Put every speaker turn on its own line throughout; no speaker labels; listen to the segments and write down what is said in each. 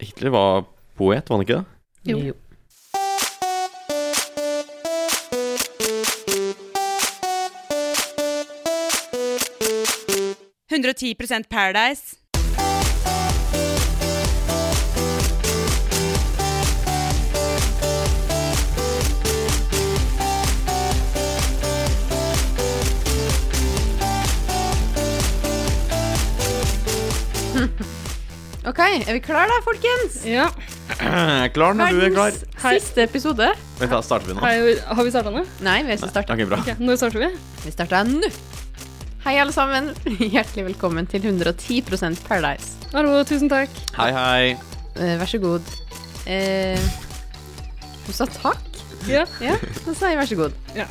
Hitler var poet, var han ikke det?
Jo.
Paradise.
OK, er vi klar da, folkens?
Ja.
Klar når du er klar.
Verdens siste episode.
Vent, da starter vi nå.
Er, jo- har vi starta nå?
Nei, vi har ikke starta.
Ok, bra.
Ok, Når starter vi?
Vi starta nå. Hei, alle sammen. Hjertelig velkommen til 110 Paradise.
Hallo, tusen takk.
Hei, hei.
Eh, Vær så god. Eh, du sa takk?
Ja.
Ja, da sa jeg vær så god.
Ja.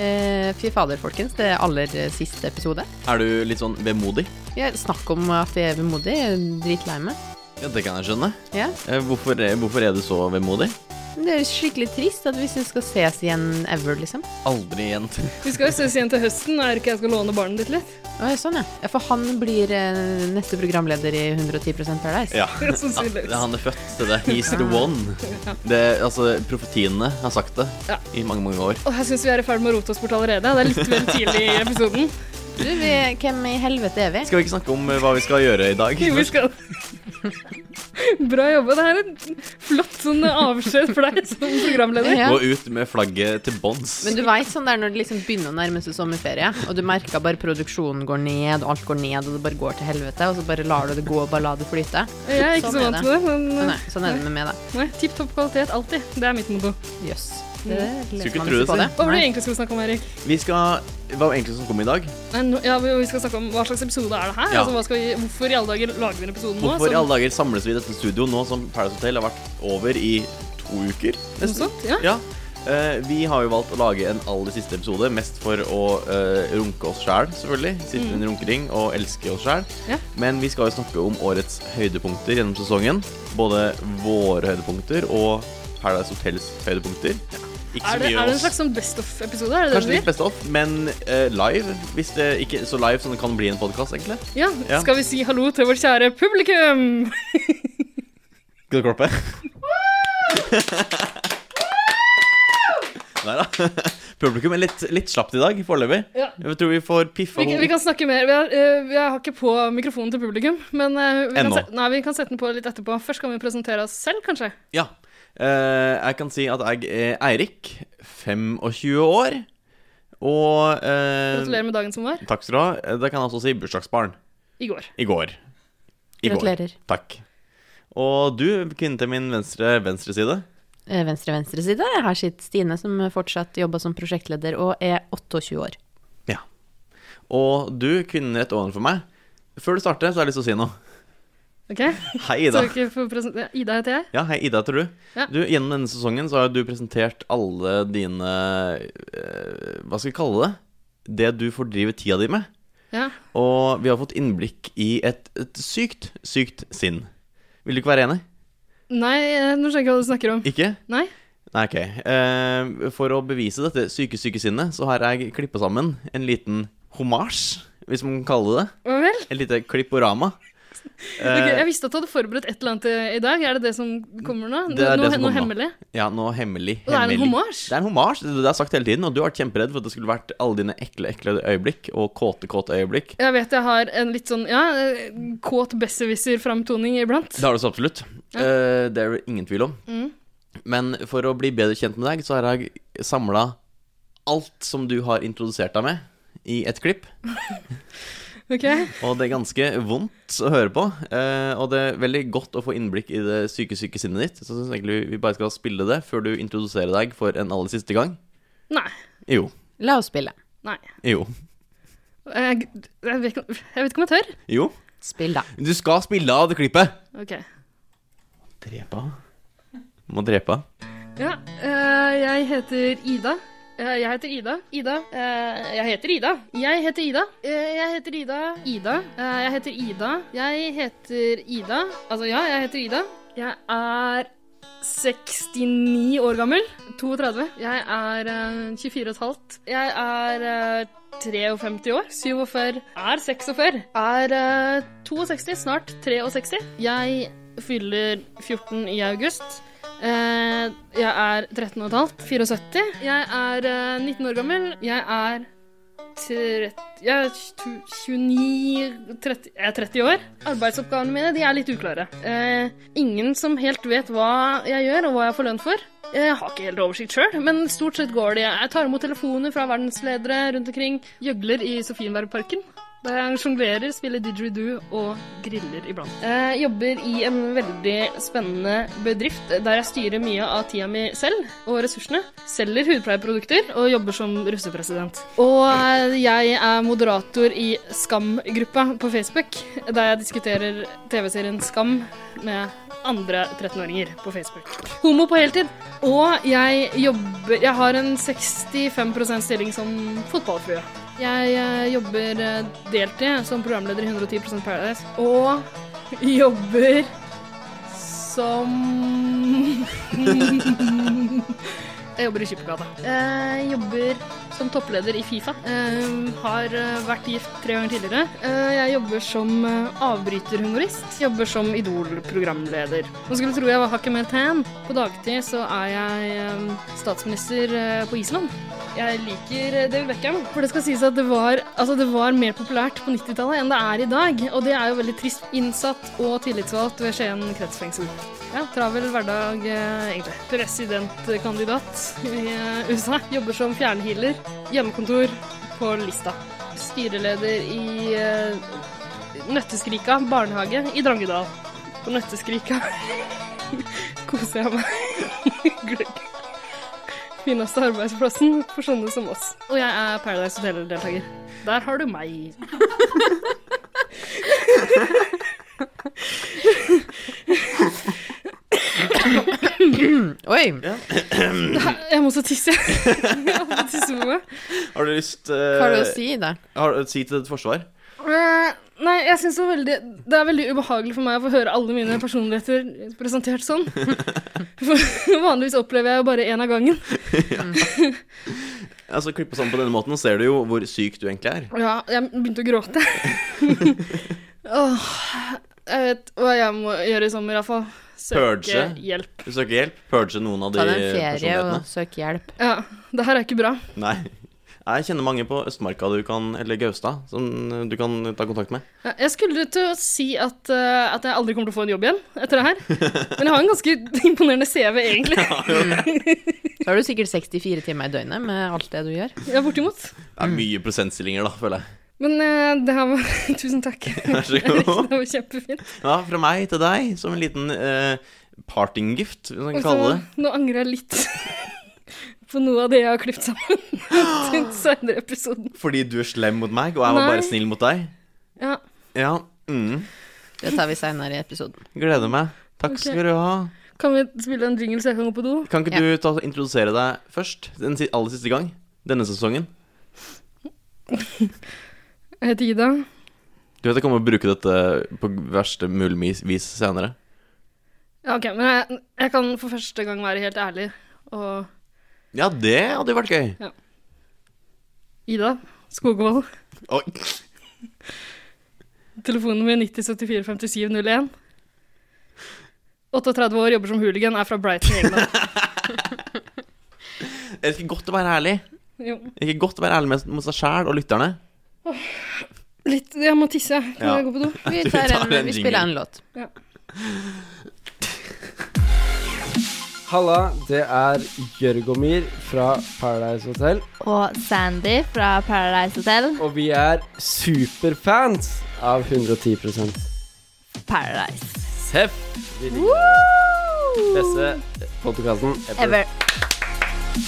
Eh, fy fader, folkens. Det er aller eh, siste episode.
Er du litt sånn vemodig?
Vi har snakk om at jeg er vemodig. Jeg er dritlei meg.
Ja, det kan jeg skjønne.
Ja.
Eh, Hvorfor, er- hvorfor er du så vemodig?
Men Det er jo skikkelig trist at vi ikke skal ses igjen ever, liksom.
Aldri igjen.
Vi skal jo ses igjen til høsten. Er det ikke jeg skal låne barnet ditt litt?
Å, ja, sånn, ja. ja. For han blir eh, neste programleder i 110 Paradise.
Ja.
Det er sånn
Ja, det
sidelengs.
er han er født til det. He's the one. Det, altså, profetiene har sagt det
Ja.
i mange, mange år.
Åh, jeg syns vi er i ferd med å rote oss bort allerede. Det er litt vel tidlig i episoden.
Du, vi, hvem i helvete er vi?
Skal vi ikke snakke om eh, hva vi skal gjøre i dag?
Jo, vi skal. Bra jobba. Det her er en flott sånn avskjed for deg som programleder.
Ja.
Gå ut med flagget til bånds.
Men du veit sånn der når det liksom begynner å nærme seg sommerferie, og du merker bare produksjonen går ned, og alt går ned, og det bare går til helvete, og så bare lar du det gå og bare la det flyte.
Jeg er ikke
Sånn
så
er
vant
det.
til det, men
Sånn er, sånn er det med meg, da.
nei, tipp topp kvalitet alltid. Det er mitt motto.
Jøs. Det
Skulle ikke
leser man
tro det,
ikke på
si.
det.
Hva var det
Nei.
egentlig skulle snakke om, Erik?
Vi skal Hva var egentlig som kom i dag?
Nei, nå- ja, vi vi skal snakke om Hva slags episode er det her?
Ja.
Altså, hva skal vi, hvorfor i alle dager lager vi en episode nå?
Hvorfor i
som-
alle dager samles vi i dette studio nå som Paradise Hotel har vært over i to uker?
Noe sånt, ja.
Ja. Eh, vi har jo valgt å lage en aller siste episode, mest for å eh, runke oss sjæl, selvfølgelig. Sitte i en runkering og elske oss sjæl.
Mm. Ja.
Men vi skal jo snakke om årets høydepunkter gjennom sesongen. Både våre høydepunkter og Paradise Hotels høydepunkter. Ikke
Er
så
det,
mye
er det en
oss.
slags sånn best of-episode? Er det
Kanskje litt
det du sier?
best of, men eh, live. Hvis det ikke så live som det kan bli i en podkast, egentlig.
Ja.
Ja.
Skal vi si hallo til vårt kjære publikum?
Skal du klappe? Nei da. Publikum er litt, litt slapt i dag foreløpig.
Ja.
Jeg tror vi får piffa
Vi, vi kan snakke mer. Vi har, eh, vi har ikke på mikrofonen til publikum, men eh, vi kan,
Ennå.
sette, nei, vi kan sette den på litt etterpå. Først kan vi presentere oss selv, kanskje.
Ja. Eh, jeg kan si at jeg er Eirik, 25 år, og eh,
Gratulerer med dagen som var.
Takk skal du ha. Det kan jeg også si bursdagsbarn.
I går.
I går. I
Gratulerer.
Går. Takk. Og du, kvinnen til min venstre, venstre side.
Eh, Venstre, venstre side. Her sitter Stine, som fortsatt jobber som prosjektleder og er 28 år.
Ja. Og du, kvinnen rett ovenfor meg. Før du starter, så har jeg lyst til å si noe.
Ok?
Hei,
Så
Ida.
dere får presentere Ida heter jeg.
Ja, hei, Ida heter du.
Ja.
du. Gjennom denne sesongen så har jo du presentert alle dine eh, Hva skal vi kalle det? Det du fordriver tida di med.
Ja.
Og vi har fått innblikk i et, et sykt, sykt sinn. Vil du ikke være enig?
Nei, eh, nå skjønner jeg ikke hva du snakker om.
Ikke?
Nei?
Nei, ok. Eh, for å bevise dette syke, syke sinnet, så har jeg klippa sammen en liten homasj, hvis man kan kalle det det.
Hva vel?
Et lite klipporama.
Ok,
Eh,
jeg visste at du hadde forberedt et eller annet i- i dag. Er det det som kommer nå?
Det er det
noe,
som
noe
kommer
hemmelig?
ja, noe hemmelig.
Og det er en
hemmelig.
homasj?
Det er en hommage, det er det jeg har sagt hele tiden, og du har vært kjemperedd for at det skulle vært alle dine ekle, ekle øyeblikk, og kåte, kåte øyeblikk.
Jeg vet jeg har en litt sånn ja, eh, kåt besserwisser-framtoning iblant.
Det har du så absolutt. Eh, det er det ingen tvil om.
Mm.
Men for å bli bedre kjent med deg, så har jeg samla alt som du har introdusert deg med, i et klipp.
Ok?
Og det er ganske vondt å høre på. eh, og det er veldig godt å få innblikk i det syke, syke sinnet ditt. Så jeg syns egentlig vi bare skal spille det før du introduserer deg for en aller siste gang.
Nei.
Jo.
La oss spille.
Nei.
Jo.
Jeg, jeg, vet, ikke- jeg vet ikke om jeg tør.
Jo.
Spill, da.
Du skal spille av det klippet.
Ok.
Drepa. Må drepa.
Ja, eh, jeg heter Ida. Eh, jeg heter Ida. Ida. eh, jeg heter Ida. Jeg heter Ida. Eh, jeg heter Ida. Ida. Eh, jeg heter Ida. Jeg heter Ida. Altså, ja, jeg heter Ida. Jeg er 69 år gammel. 32. Jeg er eh, 24,5. Jeg er eh, 53 år. 47. Er 46. Er eh, 62, snart 63. Jeg fyller 14 i august. Eh, jeg er 13 og et halvt, 74. Jeg er eh, 19 år gammel. Jeg er 30, jeg er 29 30, Jeg er 30 år. Arbeidsoppgavene mine de er litt uklare. Eh, ingen som helt vet hva jeg gjør, og hva jeg får lønn for. Eh, Jeg har ikke helt oversikt sjøl, men stort sett går det. Jeg tar imot telefoner fra verdensledere rundt omkring. Gjøgler i Sofienbergparken. Der jeg sjonglerer, spiller didgeridoo og griller iblant. Jeg jobber i en veldig spennende bedrift der jeg styrer mye av tida mi selv og ressursene. Selger hudpleieprodukter og jobber som russepresident. Og eh, jeg er moderator i Skam-gruppa på Facebook, der jeg diskuterer TV-serien Skam med andre 13-åringer på Facebook. Homo på heltid. Og jeg jobber Jeg har en 65 stilling som fotballfrue. Jeg eh, jobber eh, deltid som programleder i 110 Paradise, og jobber som Jeg jobber i Skippergata. Eh, jobber som toppleder i Fifa. Eh, har eh, vært gift tre ganger tidligere. Eh, jeg jobber som eh, avbryterhumorist. Jobber som Idol-programleder. Man skulle tro jeg var hakket mer tan. På dagtid så er jeg eh, statsminister eh, på Island. Jeg liker eh, David Beckham. For det skal sies at det var, altså det var mer populært på 90-tallet enn det er i dag. Og det er jo veldig trist. Innsatt og tillitsvalgt ved Skien kretsfengsel. Ja, travel hverdag, eh, egentlig. Presidentkandidat i eh, USA. Jobber som fjernhealer. Hjemmekontor på Lista. Styreleder i eh, Nøtteskrika barnehage i Drangedal. På Nøtteskrika koser jeg meg. Gløgg fineste arbeidsplassen for sånne som oss. Og jeg er Paradise Hotel-deltaker. Der har du meg.
Oi!
Jeg må så tisse. Jeg må så tisse på meg.
Har du lyst uh,
Hva har du å si der?
Har du si til ditt forsvar?
Eh, Nei, jeg synes det, var veldig, det er veldig ubehagelig for meg å få høre alle mine personligheter presentert sånn. For vanligvis opplever jeg jo bare én av gangen.
Altså, Klippe sammen på denne måten, ser du jo hvor syk du egentlig er.
Ja, jeg begynte å gråte. Åh, jeg vet hva jeg må gjøre i sommer, iallfall. Søke
Purge.
hjelp.
Du søker hjelp? Purge noen av de
Ta deg en ferie
personlighetene?
og søk hjelp.
Ja, det her er ikke bra.
Nei. Jeg kjenner mange på Østmarka du kan, eller Gaustad som du kan ta kontakt med.
Ja, Jeg skulle til å si at, eh, at jeg aldri kommer til å få en jobb igjen etter det her. Men jeg har en ganske imponerende CV, egentlig.
Så har du sikkert 64 timer i døgnet med alt det du gjør.
Ja, bortimot.
Det er mye prosentstillinger, da, føler jeg.
Men eh, det her var Tusen takk.
Vær så
Erik,
god.
det var kjempefint.
Ja, fra meg til deg, som en liten eh, partinggift, hvis man kan
Og så,
kalle det.
nå angrer jeg litt på noe av det jeg har klippet sammen til den senere episoden.
Fordi du er slem mot meg, og jeg var
Nei.
bare snill mot deg.
Ja.
Ja. Mm.
Det tar vi seinere i episoden.
Gleder meg. Takk
Ok.
skal du ha.
Kan vi spille en jingle så jeg kan gå på do?
Kan ikke
Ja.
du ta, introdusere deg først? Den si- aller siste gang? Denne sesongen?
Jeg heter Ida.
Du vet jeg kommer til å bruke dette på verste mulig vis senere.
Ja, ok, men jeg, jeg kan for første gang være helt ærlig. Og
Ja, det hadde jo vært gøy.
Ida Skogvold.
Oi.
Telefonnummer 90745701. 38 år, jobber som hooligan, er fra Brighton, England.
Er det ikke godt å være ærlig?
Jo.
Er det ikke godt å være ærlig med- mot seg sjæl og lytterne?
Litt, jeg må tisse. Kan
Ja.
jeg gå på do?
Vi,
Du
tar
tar
en,
en
vi
jingle.
spiller en låt.
Halla, det er Jørgomir fra Paradise Hotel.
og Sandy fra Paradise Hotel.
Og vi er superfans av 110
Paradise.
Seff! Vi liker den beste podkasten ever.
Ever.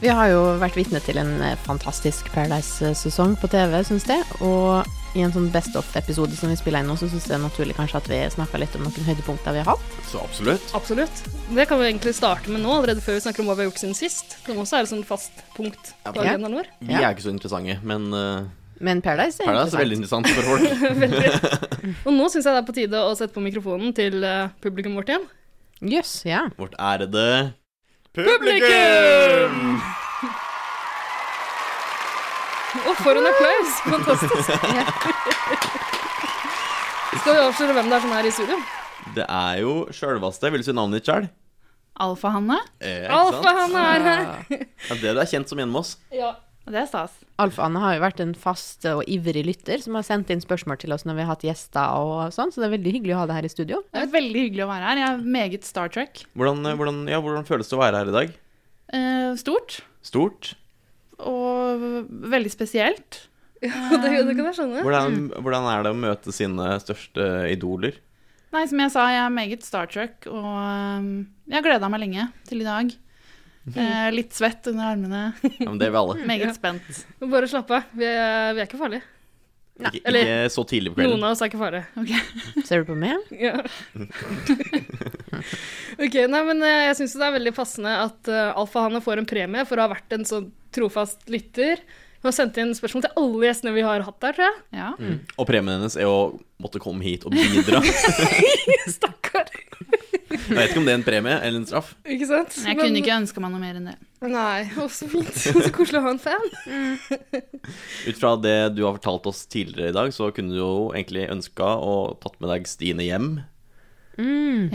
Vi har jo vært vitne til en eh, fantastisk Paradise-sesong på TV, syns jeg. Og i en sånn Best of-episode som vi spiller inn nå, så syns jeg det er naturlig kanskje at vi snakka litt om noen høydepunkter vi har hatt.
Så absolutt.
Absolutt. Det kan vi egentlig starte med nå, allerede før vi snakker om hva vi har gjort siden sist. Som også er et sånt fast punkt på
Ja.
agendaen vår.
Vi
Ja.
er ikke så interessante, men uh,
Men Paradise er
Paradise er veldig
interessant.
interessant for folk.
Veldig. Og nå syns jeg det er på tide å sette på mikrofonen til eh, publikum vårt igjen.
Jøss, ja.
Vårt ærede publikum!
Å, For en applaus! Fantastisk. Skal vi avsløre hvem det er som er i studio?
Det er jo sjølvaste. Vil du si navnet ditt sjøl?
Alfahanne.
Eh, ikke
Alfa,
sant?
han er her.
Ja, det du er kjent som hjemme hos.
Ja.
Og det er stas.
Alf-Anne har jo vært en fast og ivrig lytter som har sendt inn spørsmål til oss når vi har hatt gjester og sånn, så det er veldig hyggelig å ha deg her i studio.
Det er veldig hyggelig å være her. Jeg er meget Star Trek.
Hvordan, eh, hvordan, ja, hvordan føles det å være her i dag?
Eh, stort
Stort?
og veldig spesielt.
Det, det kan jeg skjønne.
Hvordan, hvordan er det å møte sine største idoler?
Nei, som jeg sa, jeg er meget Star Trek, og eh, jeg har gleda meg lenge til i dag. Eh, litt svett under armene.
Ja, men det er vi alle.
Meget spent.
Bare slapp av. Vi er, vi er ikke farlige.
Ikke,
eller-
ikke så tidlig på
Noen
kvelden.
av oss er ikke farlige.
Ser du på meg?
Ja. ok, nei, men eh, jeg syns det er veldig passende at eh, Alfa Hanne får en premie for å ha vært en sånn trofast lytter. Hun har sendt inn spørsmål til alle gjestene vi har hatt der, tror jeg.
Ja.
Og premien hennes er å måtte komme hit og bidra. Jeg
Stakkar.
vet ikke om det er en premie eller en straff.
Ikke sant?
Men jeg kunne ikke ønska meg noe mer enn det.
Nei, å, så fint. Så koselig å ha en fan.
Ut fra det du har fortalt oss tidligere i dag, så kunne du jo egentlig ønska å tatt med deg Stine hjem.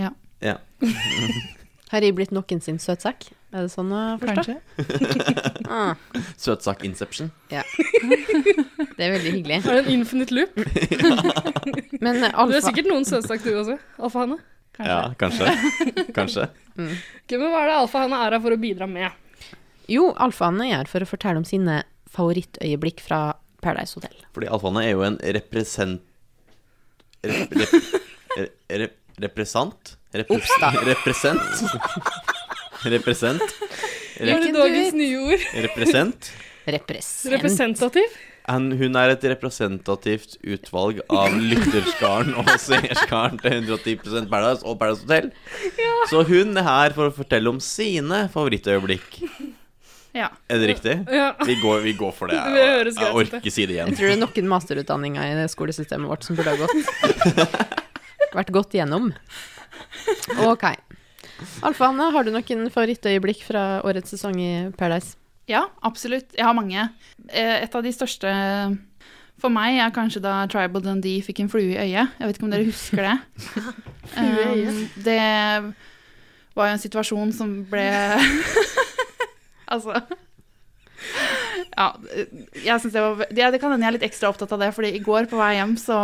Ja,
Ja.
Mm. Har jeg blitt noen sin søtsak? Er det sånn å forstå?
kanskje.
Ah,
Søtsak Inception.
det er veldig hyggelig.
Det er en infinite loop.
Men eh,
Du er
Alfa,
sikkert noen søtsak, du også. Alfa Hanne.
kanskje.
Ja, kanskje. Kanskje.
Ok, men hva er det Alfa Hanne er her for å bidra med?
jo, Alfa-Anne er her for å fortelle om sine favorittøyeblikk fra Paradise Hotel.
Fordi alfaene er jo en represent... Rep, rep, re- re, represent? Repres, represent? Represent?
Er det
Hvilken
dagens
duett?
nye ord?
Represent?
Represent.
Representativ?
Han, hun er et representativt utvalg av lytterskaren og seerskaren til 110 Paradise og Paradise Hotel. Så hun er her for å fortelle om sine favorittøyeblikk.
Ja.
Er det riktig?
Ja.
Vi går, vi går for det.
Det høres
Jeg, jeg
greit ut, det.
orker si det igjen.
Jeg tror det er noen masterutdanninger i det skolesystemet vårt som burde ha gått vært gått gjennom. Ok. Alfa-Anne, har du noen favorittøyeblikk fra årets sesong i Paradise?
Ja, absolutt. Jeg har mange. Eh, Et av de største for meg er kanskje da Tribal Dundee fikk en flue i øyet. Jeg vet ikke om dere husker det. flue i øyet? Det var jo en situasjon som ble Altså Ja, jeg synes det var ve- ja, Det kan hende jeg er litt ekstra opptatt av det, fordi i går på vei hjem så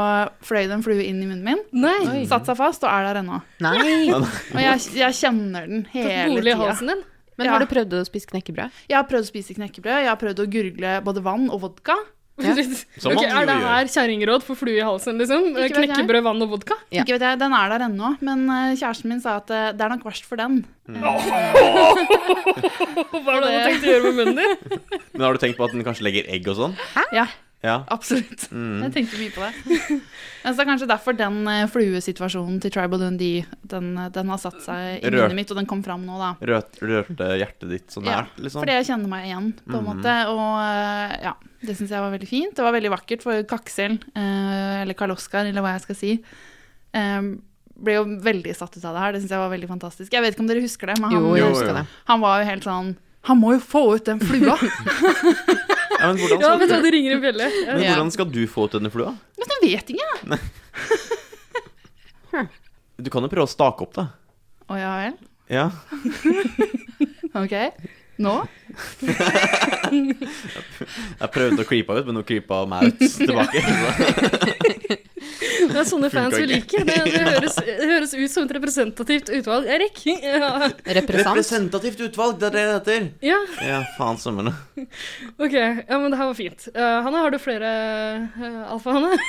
fløy det en flue inn i munnen min.
Nei.
Satt seg fast og er der ennå.
Nei!
Og jeg, jeg kjenner den
Tatt
hele
bolig i
tida.
halsen din?
Men
Ja.
har du prøvd å spise knekkebrød?
Jeg har prøvd å spise knekkebrød, jeg har prøvd å gurgle både vann og vodka.
Ja.
Som
Ok,
man jo
er det
gjør.
her kjerringråd for flue i halsen, liksom?
Ikke vet jeg.
Knekkebrød, vann og vodka?
Ja.
Ikke vet jeg, Den er der ennå, men eh, kjæresten min sa at eh, det er nok verst for den.
Hva er det du tenkte å gjøre med munnen din?
Men har du tenkt på at den kanskje legger egg og sånn?
Ja,
Ja.
absolutt. Jeg tenkte mye på det. Men så det er kanskje derfor den eh, fluesituasjonen til Tribal Dundee den, eh, den har satt seg i
Rørt.
minnet mitt, og den kom fram nå, da.
Rørt, rørte hjertet ditt så
Ja,
nært, liksom?
Fordi jeg kjenner meg igjen, på en måte. Og eh, ja, det syns jeg var veldig fint. Det var veldig vakkert, for Kaksel, eh, eller Karl Oskar, eller hva jeg skal si, eh, ble jo veldig satt ut av det her. Det syns jeg var veldig fantastisk. Jeg vet ikke om dere husker det, men han,
Jo, jeg
Jo,
husker
jo.
det.
han var jo helt sånn Han må jo få ut den flua!
Ja, men hvordan
Ja,
skal,
vet du hva,
du,
det ringer en bjelle. Ja.
men
Ja.
hvordan skal du få ut denne flua?
men det vet ikke jeg!
Du kan jo prøve å stake opp, da.
Å ja vel?
Ja.
Ok. Nå?
Jeg prøvde å creepe henne ut, men hun creepa meg ut tilbake.
Det er sånne fans vi
Funker
liker. Det, det, høres, det høres ut som et representativt utvalg. Erik? Ja.
Represent?
Representativt utvalg, det er det det heter.
ja.
Ja, faen sømmene.
Ok, ja, men det her var fint. Eh, Hanne, har du flere eh, Alfa-Hanne?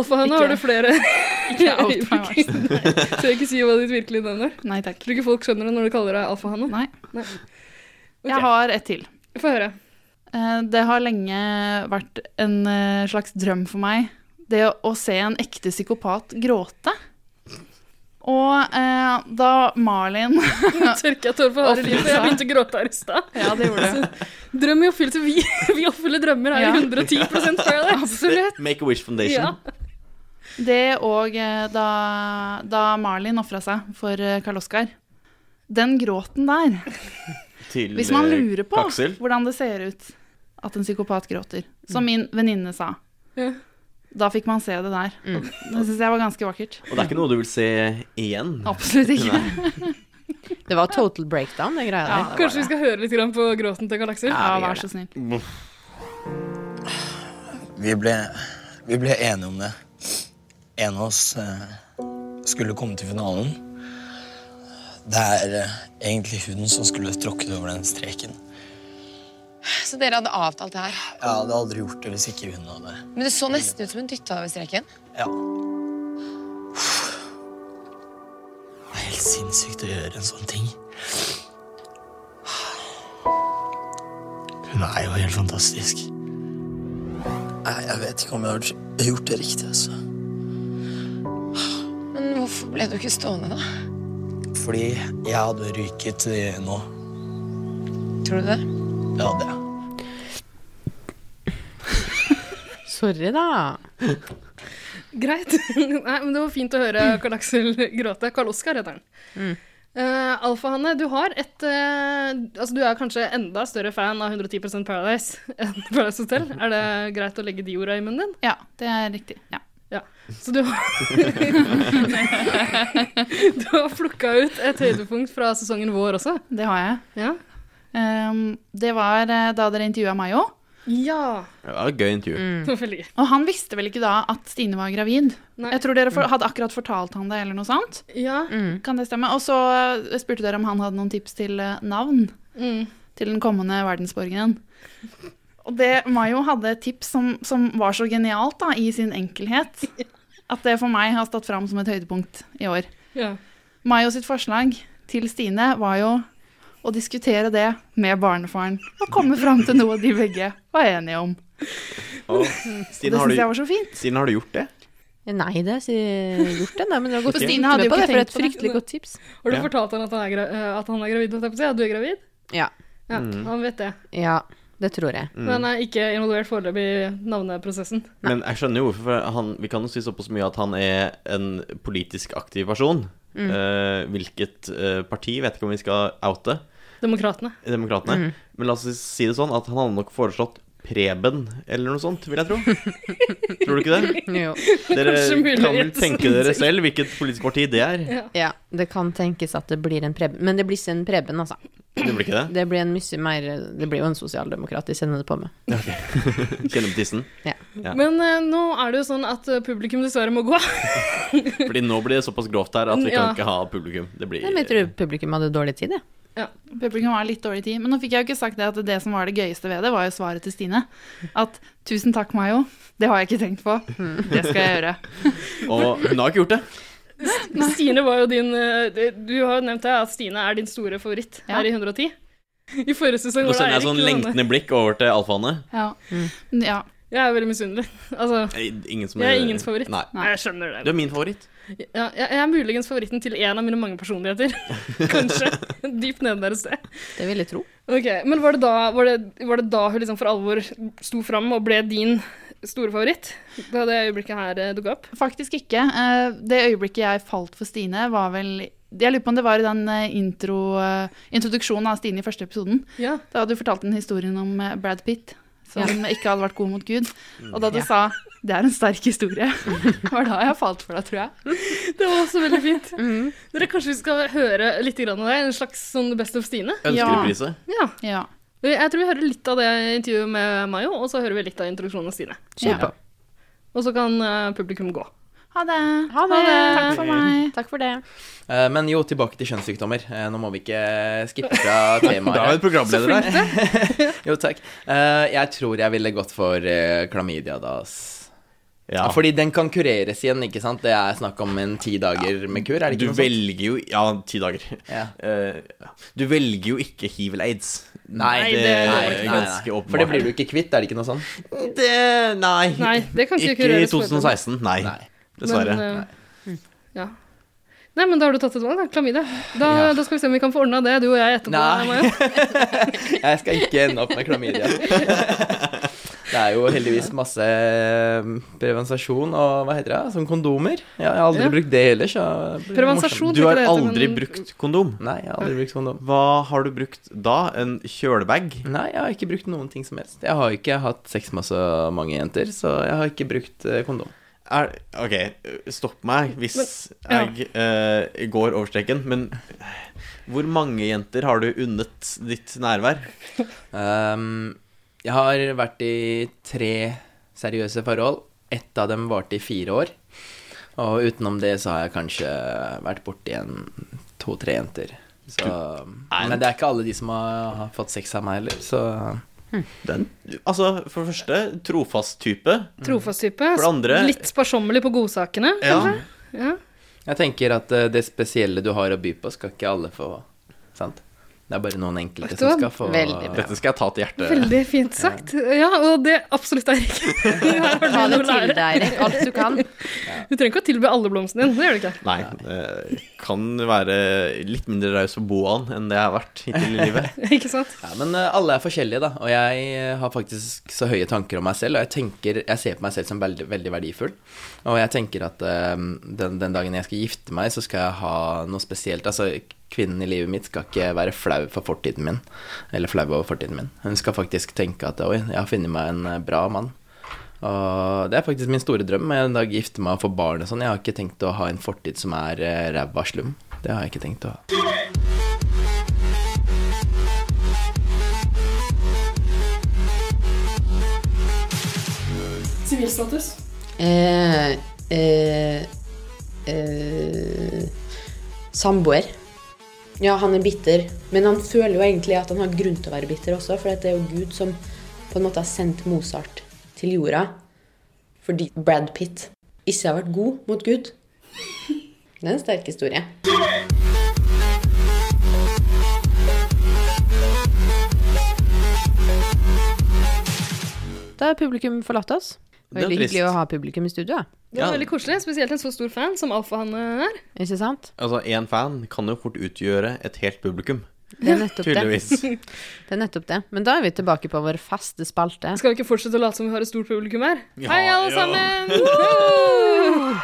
Alfa-Hanne, har du flere
Ikke out my
øyeblikk?
worst.
Tør jeg ikke si hva ditt virkelige navn er?
Nei takk.
Tror du ikke folk skjønner det når du kaller deg Alfa-Hanne?
Nei.
Nei.
Jeg har et til.
Få høre.
Eh, Det har lenge vært en eh, slags drøm for meg, det å- å se en ekte psykopat gråte. Og eh, da Malin
Nå tørker jeg tårer på harde
Å, fy
livet, og jeg
faen.
begynte å gråte her i stad.
Ja, det gjorde du.
Drøm i oppfyllelse. Vi, vi oppfyller drømmer her
Ja.
i 110 Paradise. Absolutt.
Make a Wish Foundation.
Ja.
Det og eh, da, da Malin ofra seg for eh, Karl Oskar. Den gråten der,
Til
hvis man
eh,
lurer på
Kaksel.
hvordan det ser ut at en psykopat gråter. Som min venninne sa.
Mm. Ja.
Da fikk man se det der.
Mm.
Og Det syns jeg var ganske vakkert.
Og det er ikke noe du vil se igjen.
Absolutt ikke.
Nei.
Det var total breakdown, det greia
Ja.
der.
Kanskje vi skal høre litt grann på gråten til galakser?
Ja,
vi gjør
vær så snill.
Vi ble, vi ble enige om det. En av oss eh, skulle komme til finalen. Det er eh, egentlig hun som skulle tråkket over den streken.
Så dere hadde avtalt det her.
Jeg hadde aldri gjort det hvis ikke hun hadde.
Men det så nesten ut som hun dytta over streken.
Ja. Det er helt sinnssykt å gjøre en sånn ting. Hun er jo helt fantastisk. Nei, jeg vet ikke om jeg har gjort det riktig, altså.
Men hvorfor ble du ikke stående, da?
Fordi jeg hadde ryket eh, nå.
Tror du det?
Det hadde jeg.
Sorry, da.
Greit. Nei, men Det var fint å høre Karl Aksel gråte. Karl Oskar heter han. Eh, Alfa-Hanne, du har et eh, Altså, du er kanskje enda større fan av 110 Paradise enn Paradise Hotel. Er det greit å legge de orda i munnen din?
Ja, det er riktig. Ja.
Ja. Så du har Du har plukka ut et høydepunkt fra sesongen vår også.
Det har jeg.
Ja.
Ehm, det var eh, da dere intervjua meg òg.
Ja.
Det var et gøy intervju.
Det var veldig gøy.
Og han visste vel ikke da at Stine var gravid.
Nei.
Jeg tror dere for, hadde akkurat fortalt han det, eller noe sånt.
Ja.
Kan det stemme? Og så eh, spurte dere om han hadde noen tips til eh, navn
Mm.
til den kommende verdensborgeren. Og det Mayo hadde et tips som, som var så genialt da, i sin enkelhet, at det for meg har stått fram som et høydepunkt i år.
ja.
Mayo sitt forslag til Stine var jo å diskutere det med barnefaren og komme fram til noe de begge var enige om.
Og,
Mm. Det
Stine, har
syns jeg
du,
var så fint.
Stine, har du gjort det?
Nei, det har jeg gjort det, nei, men det var godt å
For Stine
lytte med
hadde jo
på det,
ikke
for
tenkt
et
på det.
fryktelig godt tips.
Har du
Ja.
fortalt han at han er, gra eh, at han er gravid? holdt jeg på å si? At du er gravid?
Ja.
Ja, Han vet det.
Ja, det tror jeg.
Mm.
Men han er ikke involvert foreløpig i navneprosessen.
Men jeg skjønner jo hvorfor for han, Vi kan jo si såpass mye at han er en politisk aktiv person.
Mm.
Eh, hvilket eh, parti vet ikke om vi skal oute.
Demokratene. Mm.
Demokratene. Men la oss si det sånn at han hadde nok foreslått Preben eller noe sånt, vil jeg tro. tror du ikke det?
Jo.
Dere
Kanskje mulig Sånn
kan vel
rett og
tenke
slett.
dere selv hvilket politisk parti det er.
Ja, det kan tenkes at det blir en Preben, men det blir ikke en Preben, altså.
Det blir ikke det?
Det blir en mye mer Det blir jo en sosialdemokrat de sender det på med.
Kjenner på tissen. Ja.
Men eh, nå er det jo sånn at eh, publikum dessverre må gå.
Fordi nå blir det såpass grovt her at vi kan
Ja.
ikke ha publikum. Det blir
Nei, men Jeg tror publikum hadde dårlig tid, jeg.
Publikum var litt dårlig tid, men nå fikk jeg jo ikke sagt det at det som var det gøyeste ved det, var jo svaret til Stine. At 'tusen takk, Mayo, det har jeg ikke tenkt på, Mm. det skal jeg gjøre'.
Og hun har ikke gjort det.
Stine var jo din eh, Du har jo nevnt det, at Stine er din store favoritt
Ja.
her i 110. I forrige sesong
Nå
var det
sender jeg
Eirik.
sånn
Lunde.
lengtende blikk over til alfaene.
Ja. ja.
Jeg er veldig misunnelig. Altså,
Ingen som
jeg er ingens favoritt.
Nei.
Nei, jeg skjønner
Du
det.
er min favoritt.
Ja, jeg jeg er muligens favoritten til en av mine mange personligheter. Kanskje. Dypt nede der et sted.
Det vil jeg tro.
Ok, Men var det da, var det, var det da hun liksom for alvor sto fram og ble din store favoritt? Da det øyeblikket her eh, dukka opp?
Faktisk ikke. Eh, Det øyeblikket jeg falt for Stine, var vel Jeg lurer på om det var i den eh, intro, eh, introduksjonen av Stine i første episoden.
Ja.
Da hadde du fortalt den historien om eh, Brad Pitt, som ikke hadde vært god mot Gud. Og da du sa 'det er en sterk historie', var da jeg falt for deg, tror jeg.
Det var også veldig fint. Dere, Kanskje vi skal høre litt grann av det? En slags sånn Best of Stine?
Ønskereprise.
Ja.
Ja.
Jeg tror vi hører litt av det intervjuet med Mayo, og så hører vi litt av introduksjonen av Stine.
Kjør på.
Og så kan eh, publikum gå.
Ha det.
Ha det.
Takk for meg.
Takk for det.
Eh, Men jo, tilbake til kjønnssykdommer. Eh, Nå må vi ikke skippe fra temaet.
Bra med programleder der.
Jo, takk. Eh, Jeg tror jeg ville gått for eh, klamydia da, ass.
Ja,
Fordi den kan kureres igjen, ikke sant? Det er snakk om en ti dager med kur, er det
du
ikke noe sånt?
velger jo Ja, ti dager.
Ja.
Eh, ja. du velger jo ikke hiv eller aids.
Nei,
det-
er
Nei, nei, nei.
ganske åpenbart.
For det blir du ikke kvitt, er det ikke noe sånt?
Det Nei.
Nei, det kan ikke
ikke i
kureres på
2016. Nei.
Nei.
Dessverre.
Men, eh, ja. Nei, men da har du tatt et valg, da. Klamydia. Da,
Ja.
da skal vi se om vi kan få ordna det, du og jeg etterpå.
Nei.
Mayo.
Jeg skal ikke ende opp med klamydia. Det er jo heldigvis masse prevensasjon og hva heter det, sånn kondomer. Ja, jeg har aldri
Ja.
brukt det ellers. så det blir
Prevensasjon,
morsomt.
Du har aldri brukt kondom?
Nei, jeg har aldri brukt kondom.
Hva har du brukt da? En kjølebag?
Nei, jeg har ikke brukt noen ting som helst. Jeg har ikke hatt sex med så mange jenter, så jeg har ikke brukt eh, kondom.
Er, ok, stopp meg hvis
Men-
jeg eh, går over streken, men hvor mange jenter har du unnet ditt nærvær?
Ehm, jeg har vært i tre seriøse forhold. Ett av dem varte i fire år. Og utenom det så har jeg kanskje vært borti en to-tre jenter. Så, men det er ikke alle de som har, har fått sex av meg heller, så
Den, altså, for det første, trofast type.
Trofast type.
For det andre
Litt sparsommelig på godsakene,
Ja.
kanskje. Ja.
Jeg tenker at eh, det spesielle du har å by på, skal ikke alle få. Sant? Det er bare noen enkelte
Vet du
som
hva?
skal få
Veldig bra. Dette
skal jeg ta til hjertet.
Veldig fint sagt. Ja, og det absolutt, Eirik. Her har du
Ta det
noe å lære.
til deg, Eirik, alt du kan.
Du trenger ikke å tilby alle blomstene dine. Det gjør du ikke.
Nei. eh, Kan være litt mindre raus på boaen enn det jeg har vært hittil i livet.
Ikke sant?
Ja, men eh, alle er forskjellige, da. Og jeg eh, har faktisk så høye tanker om meg selv. Og jeg tenker, jeg ser på meg selv som veldig, veldig verdifull. Og jeg tenker at eh, den, den dagen jeg skal gifte meg, så skal jeg ha noe spesielt. Altså, kvinnen i livet mitt skal ikke være flau for fortiden min. Eller flau over fortiden min. Hun skal faktisk tenke at oi, jeg har funnet meg en eh, bra mann. Og det er faktisk min store drøm. Jeg en dag gifte meg og få barn og sånn. Jeg har ikke tenkt å ha en fortid som er eh, ræva slum. Det har jeg ikke tenkt å ha.
Sivilstatus.
Eh, eh, eh, samboer. Ja, han er bitter, men han føler jo egentlig at han har grunn til å være bitter også, for det er jo Gud som på en måte har sendt Mozart til jorda fordi Brad Pitt ikke har vært god mot Gud. Det er en sterk historie.
Da har publikum forlatt oss. Det var
Det er
veldig
trist.
hyggelig å ha publikum i studio. ja.
Det var veldig koselig, spesielt en så stor fan som alfahanne er.
Ikke sant?
Altså, én fan kan jo fort utgjøre et helt publikum.
Det er nettopp
Tydeligvis.
det. Det er nettopp det. Men da er vi tilbake på vår faste spalte.
Skal vi ikke fortsette å late som vi har et stort publikum her?
Ja,
Hei, alle
ja.
sammen! Woo!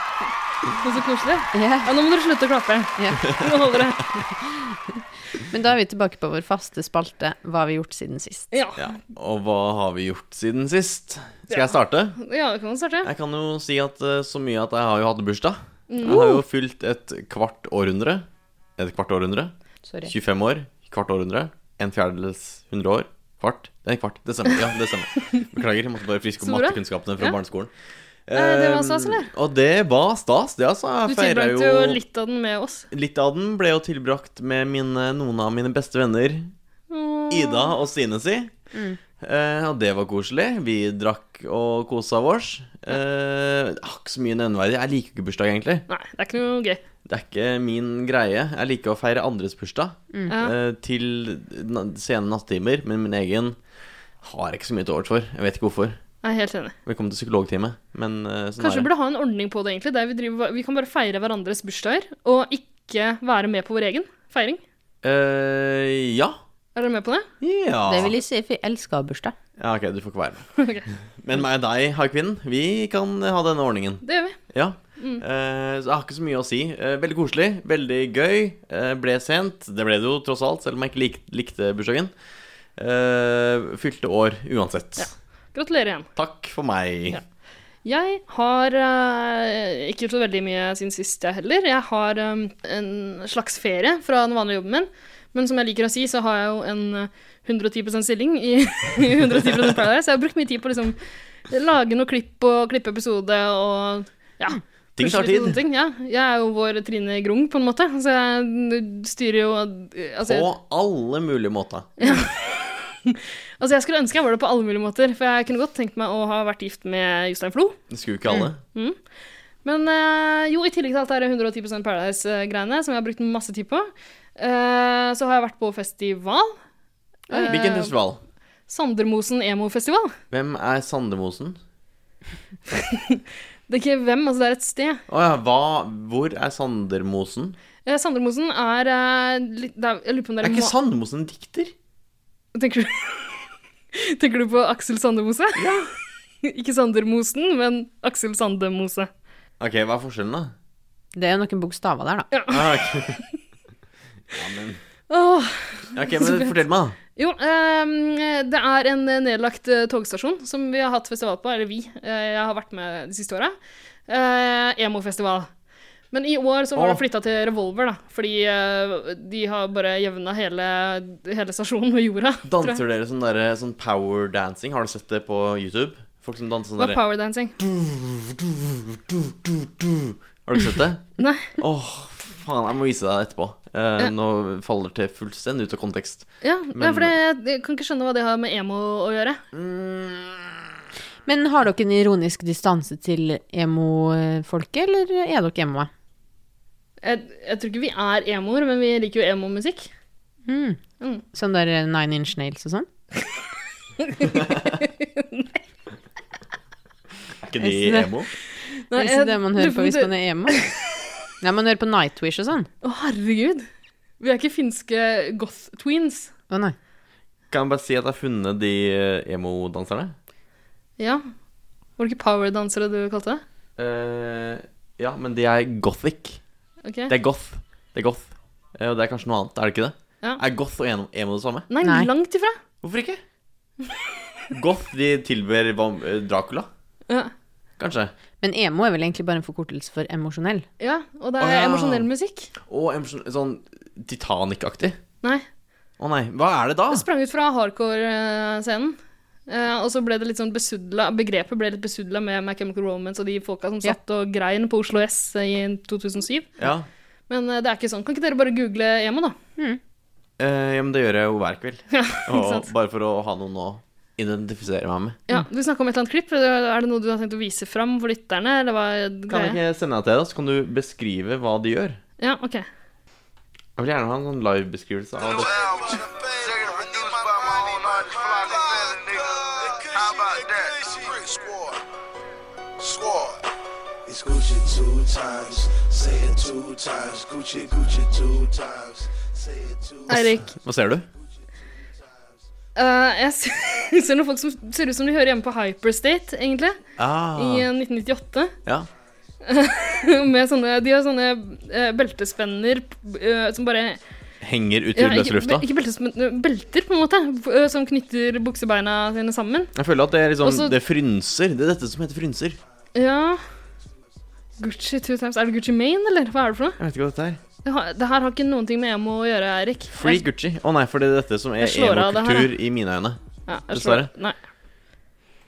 Og så koselig. Ja, nå må dere slutte å klappe. Nå holder det.
Men da er vi tilbake på vår faste spalte Hva har vi gjort siden sist?
Ja. Og hva har vi gjort siden sist? Skal
Ja.
jeg starte?
Ja, vi kan starte.
Jeg kan jo si at eh, så mye at jeg har jo hatt bursdag.
Mm.
Jeg har jo fylt et kvart århundre. Et kvart århundre.
Sorry.
25 år, kvart århundre. En fjerdedels hundre år. Kvart. Det er en kvart. Det stemmer. Ja, det stemmer. Beklager, jeg måtte bare friske opp
Så bra.
mattekunnskapene fra
Ja.
barneskolen.
Nei, det var
Eh,
stas, eller?
Og det var stas, det, altså.
Du
Jeg feira
tilbrakte jo litt av den med oss.
Litt av den ble jo tilbrakt med mine, noen av mine beste venner,
Åh.
Ida og Stine si.
Mm.
Eh, og det var koselig. Vi drakk og kosa vårs. Eh, det er ikke så mye nevneverdig. Jeg liker ikke bursdag, egentlig.
Nei, det er ikke noe gøy.
Det er ikke min greie. Jeg liker å feire andres bursdag
Mm.
eh, til na sene nattetimer, men min egen har jeg ikke så mye til overs for. Jeg vet ikke hvorfor.
Jeg er helt enig.
Velkommen til psykologtime, men eh, sånn
Kanskje vi
er det.
burde ha en ordning på det, egentlig. Der vi, driver, vi kan bare feire hverandres bursdager, og ikke være med på vår egen feiring.
Eh, ja.
Er dere med på det?
Ja.
Det vil jeg si, for jeg elsker bursdag.
ja. Ok, du får ikke være med.
Ok,
Men meg og deg, haikvinnen, vi kan ha denne ordningen.
Det gjør vi.
Ja.
Mm.
Eh, så jeg har ikke så mye å si. Eh, veldig koselig, veldig gøy. Eh, ble sent. Det ble det jo tross alt, selv om jeg ikke lik likte bursdagen. Eh, fylte år uansett.
Gratulerer igjen.
Takk for meg.
Ja. Jeg har eh, ikke gjort så veldig mye siden sist, jeg heller. Jeg har eh, en slags ferie fra den vanlige jobben min. Men som jeg liker å si, så har jeg jo en eh, 110 stilling i 110 Paradise. Jeg har brukt mye tid på å liksom lage noe klipp og klippe episode og ja.
Ting tar
pusle litt på
tid.
sånne Ting, ja. Jeg er jo vår Trine Grung, på en måte. Så jeg styrer jo eh, altså,
På alle mulige måter.
altså, jeg skulle ønske jeg var det på alle mulige måter, for jeg kunne godt tenkt meg å ha vært gift med Jostein Flo.
Det skulle ikke alle.
Mm. Men eh, jo, i tillegg til alt det her 110 Paradise-greiene, som jeg har brukt masse tid på, eh, så har jeg vært på festival.
Oi, Hvilken
Eh,
festival?
Sandermosen emo-festival.
Hvem er Sandemosen?
Det er ikke hvem, altså det er et sted.
Å ja, hva Hvor er Sandermosen?
Eh, Sandermosen er, eh, litt- det er Jeg lurer på om det
Er
er
ikke Sandemosen en dikter?
Tenker du Tenker du på Aksel Sandemose? Ja. Ikke Sandermosen, men Aksel Sandemose.
Ok, hva er forskjellen, da?
Det er jo noen bokstaver der, da.
Ah, ok. ja, men,
Åh,
ja, ok,
så
men
fett.
fortell meg, da.
Jo, ehm, det er en nedlagt eh, togstasjon som vi har hatt festival på, eller vi. eh, jeg har vært med de siste åra. Uh, Emofestival. Men i år så var det
Åh.
flytta til Revolver, da. Fordi eh, de har bare jevna hele, hele stasjonen med jorda. tror jeg.
Danser dere sånn, der, sånn power dancing? Har du sett det på YouTube? Folk som danser sånn
Hva er
derre
powerdancing?
Har du ikke sett det?
Nei.
Åh, faen, jeg må vise deg det etterpå. Eh, nå faller det fullstendig ut av kontekst.
Ja,
Men-
ja, for det, jeg kan ikke skjønne hva det har med emo å gjøre.
Men har dere en ironisk distanse til emo-folket, eller er dere emoer?
Jeg, jeg tror ikke vi er emoer, men vi liker jo emo-musikk.
Mm.
Mm.
Sånn der eh, Nine Inch Nails og sånn?
Er ikke
Jeg
de
synes det-
emo?
Det
Nei,
er ikke
jeg
det man hører
lurer på
på
om
hvis
det-
man er emo. Nei, man hører på Nightwish og sånn.
Å, herregud. Vi er ikke finske goth-tweens.
Å nei.
Kan jeg bare si at jeg har funnet de eh, emo-danserne?
Ja. Var det ikke powerdansere du kalte det?
Eh, ja, men de er gothic.
Ok.
Det er goth. Det er goth. Eh, Og det er kanskje noe annet, er det ikke det?
Ja.
Er goth og emo- emo det samme?
Nei, langt ifra.
Hvorfor ikke? Goth de tilber vam- eh, Dracula,
Ja,
kanskje?
Men emo er vel egentlig bare en forkortelse for emosjonell.
ja og det
Å,
er
ja.
emosjonell musikk.
Og emosjon- sånn Titanic-aktig?
Nei.
Å nei, hva er det da?
Det sprang ut fra hardcore-scenen. Eh, og så ble det litt sånn besudla, begrepet ble litt besudla med My Chemical Romance og de folka som satt og grein på Oslo S i 2007.
Ja.
Men eh, det er ikke sånn. Kan ikke dere bare google emo, da?
Eh, ja, men det gjør jeg jo hver kveld.
Ja, ikke
og
sant.
bare for å ha noen å identifisere meg med.
Ja, Du snakka om et eller annet klipp. Er det noe du har tenkt å vise fram for lytterne? Eller hva er
Kan jeg
greia?
ikke sende deg til deg, da, så kan du beskrive hva de gjør?
Ja, ok.
Jeg vil gjerne ha en sånn live-beskrivelse av det.
How about that? Squad. Squad. It's Gucci two times. Say it two times. Gucci, Gucci two times. Say it two
Eirik,
Hva ser du?
eh, jeg ser- ser noen folk som ser ut som de hører hjemme på Hyperstate, egentlig.
Ah.
I eh, 1998.
Ja.
Med sånne, de har sånne eh, beltespenner eh, som bare
Henger ut i
Ja,
løse
ikke,
lufta?
be- ikke beltespenner, belter, på en måte, f- eh, som knytter buksebeina sine sammen.
Jeg føler at det er liksom
Og så-
Det er frynser. Det er dette som heter frynser.
Ja Gucci two times. Er det Gucci Mane, eller hva er det for noe?
Jeg vet ikke hva dette er.
Det, har, det her har ikke noen ting med emo å gjøre, Eirik.
Free Gucci. Å nei, for det er dette som er
Jeg slår av det her,
emokultur i mine øyne.
Ja, jeg slår-
Dessverre.
Nei.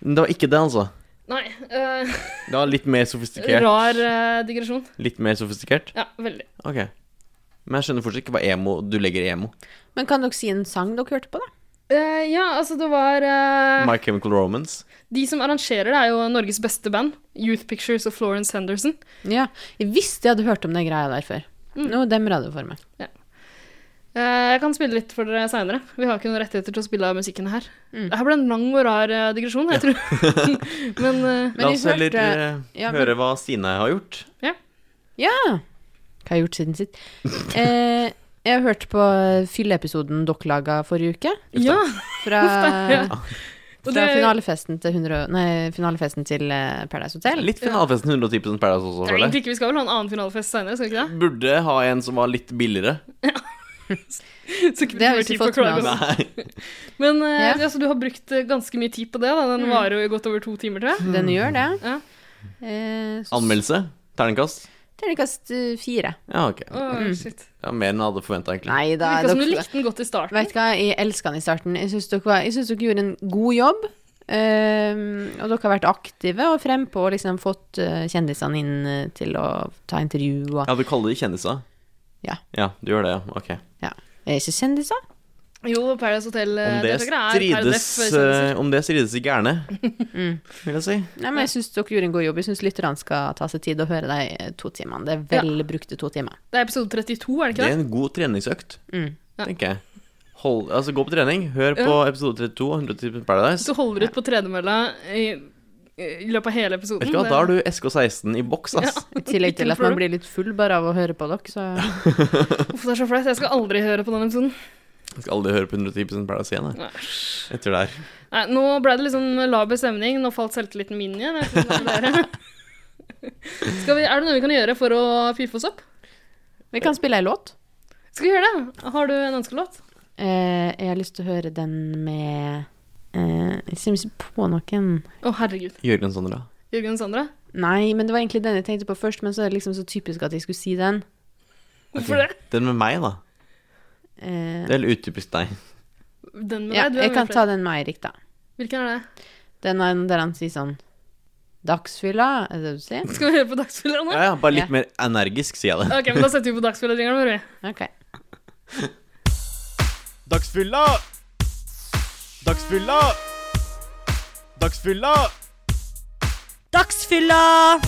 Men det var ikke det, altså.
Nei eh,
Det var litt mer sofistikert.
Rar eh, digresjon.
Litt mer sofistikert?
Ja, veldig.
Ok. Men jeg skjønner fortsatt ikke hva emo du legger i emo.
Men kan dere si en sang dere hørte på, da?
Eh, ja, altså, det var eh,
My Chemical Romance.
De som arrangerer det, er jo Norges beste band. Youth Pictures og Florence Henderson.
Ja. Hvis jeg hadde hørt om den greia der før.
Mm.
Nå demra det for meg.
Eh, jeg kan spille litt for dere seinere. Vi har ikke noen rettigheter til å spille av musikken her.
Mm.
Det her ble en lang og rar eh, digresjon, jeg tror. Men eh,
La oss heller eh,
ja, men-
høre hva Stine har gjort.
Ja.
Ja! Hva har jeg gjort siden sitt? Eh, jeg har hørt på fylleepisoden dere laga forrige uke.
Ja.
Fra,
Uff da, ja. Og
fra
det-
finalefesten, til 100, nei, finalefesten til eh, Paradise Hotel.
Litt finalefesten 110 Paradise også,
Ja,
føler jeg.
egentlig ikke, vi skal vel ha en annen finalefest seinere, skal vi ikke det?
Burde ha en som var litt billigere.
Så ikke
Det har vi
bruker
ikke
tid på å
fått med
klage
oss.
over det. Men eh,
Ja.
altså, du har brukt eh, ganske mye tid på det. Da. Den
Mm.
varer jo i godt over to timer, tror jeg.
Den gjør det.
Mm. Ja.
Eh, så-
Anmeldelse? Terningkast?
Terningkast eh, fire.
Ja, ok.
Åh,
Mm.
shit.
Ja, mer enn jeg hadde forventa, egentlig.
Nei
Det
da.
virka som du
dere-
likte den godt i starten.
Vet du hva, jeg elska den i starten. Jeg syns dere, var- jeg synes dere gjorde en god jobb. ehm, og dere har vært aktive og frempå og liksom fått eh, kjendisene inn eh, til å ta intervju og
Ja, du kaller de kjendiser?
Ja.
Ja, du gjør det, ja. Ok.
Ja. Er Eh, ikke kjendiser?
Jo, Paradise
Om det
Hotel-deltakere er
strides,
Paradise-kjendiser.
eh, om det strides i gærne,
Mm.
vil jeg si.
Nei, men jeg syns dere gjorde en god jobb. Jeg syns lytterne skal ta seg tid og høre de eh, to timene. Det er vel brukte to timer.
Det er episode 32, er det
Det
ikke
er
det?
en god treningsøkt,
Mm.
Ja.
tenker jeg. Hold, altså, gå på trening. Hør på
Ja.
episode 32 av 110 Paradise.
Så holder du ut på tredemølla i, i løpet av hele episoden.
Vet ikke hva,
Det-
Da har du SK16 i boks, ass.
I tillegg til
noe
at man blir
problem.
litt full bare av å høre på dere, så
Uff, det er så flaut. Jeg skal aldri høre på den episoden.
Jeg skal aldri høre på 110 Paradise igjen, jeg. Etter det her.
Nei, nå ble det liksom laber stemning. Nå falt selvtilliten min igjen. Jeg vet ikke hva det er. Skal vi, er det noe vi kan gjøre for å piffe oss opp?
Vi kan spille ei låt.
Skal vi gjøre det? Har du en ønskelåt?
Eh, jeg har lyst til å høre den med eh, Jeg ser ikke på noen.
Å, herregud.
Jørgen Sondra.
Jørgen og Sandra?
Nei, men det var egentlig den jeg tenkte på først, men så er det liksom så typisk at jeg skulle si den.
Hvorfor det?
Den med meg, da.
Eh,
Det er litt utypisk deg.
Den med
ja,
deg? Du er
jeg
med
kan
flere.
ta den med Eirik, da.
Hvilken er det?
Den er den der han sier sånn Dagsfylla, er det det du sier?
Skal vi høre på Dagsfylla nå?
Ja, ja, bare litt mer energisk, sier jeg det.
Ok, men da setter vi på Dagsfylla-ringeren vår, vi.
Ok.
Dagsfylla! Dagsfylla! Dagsfylla!
Dagsfylla!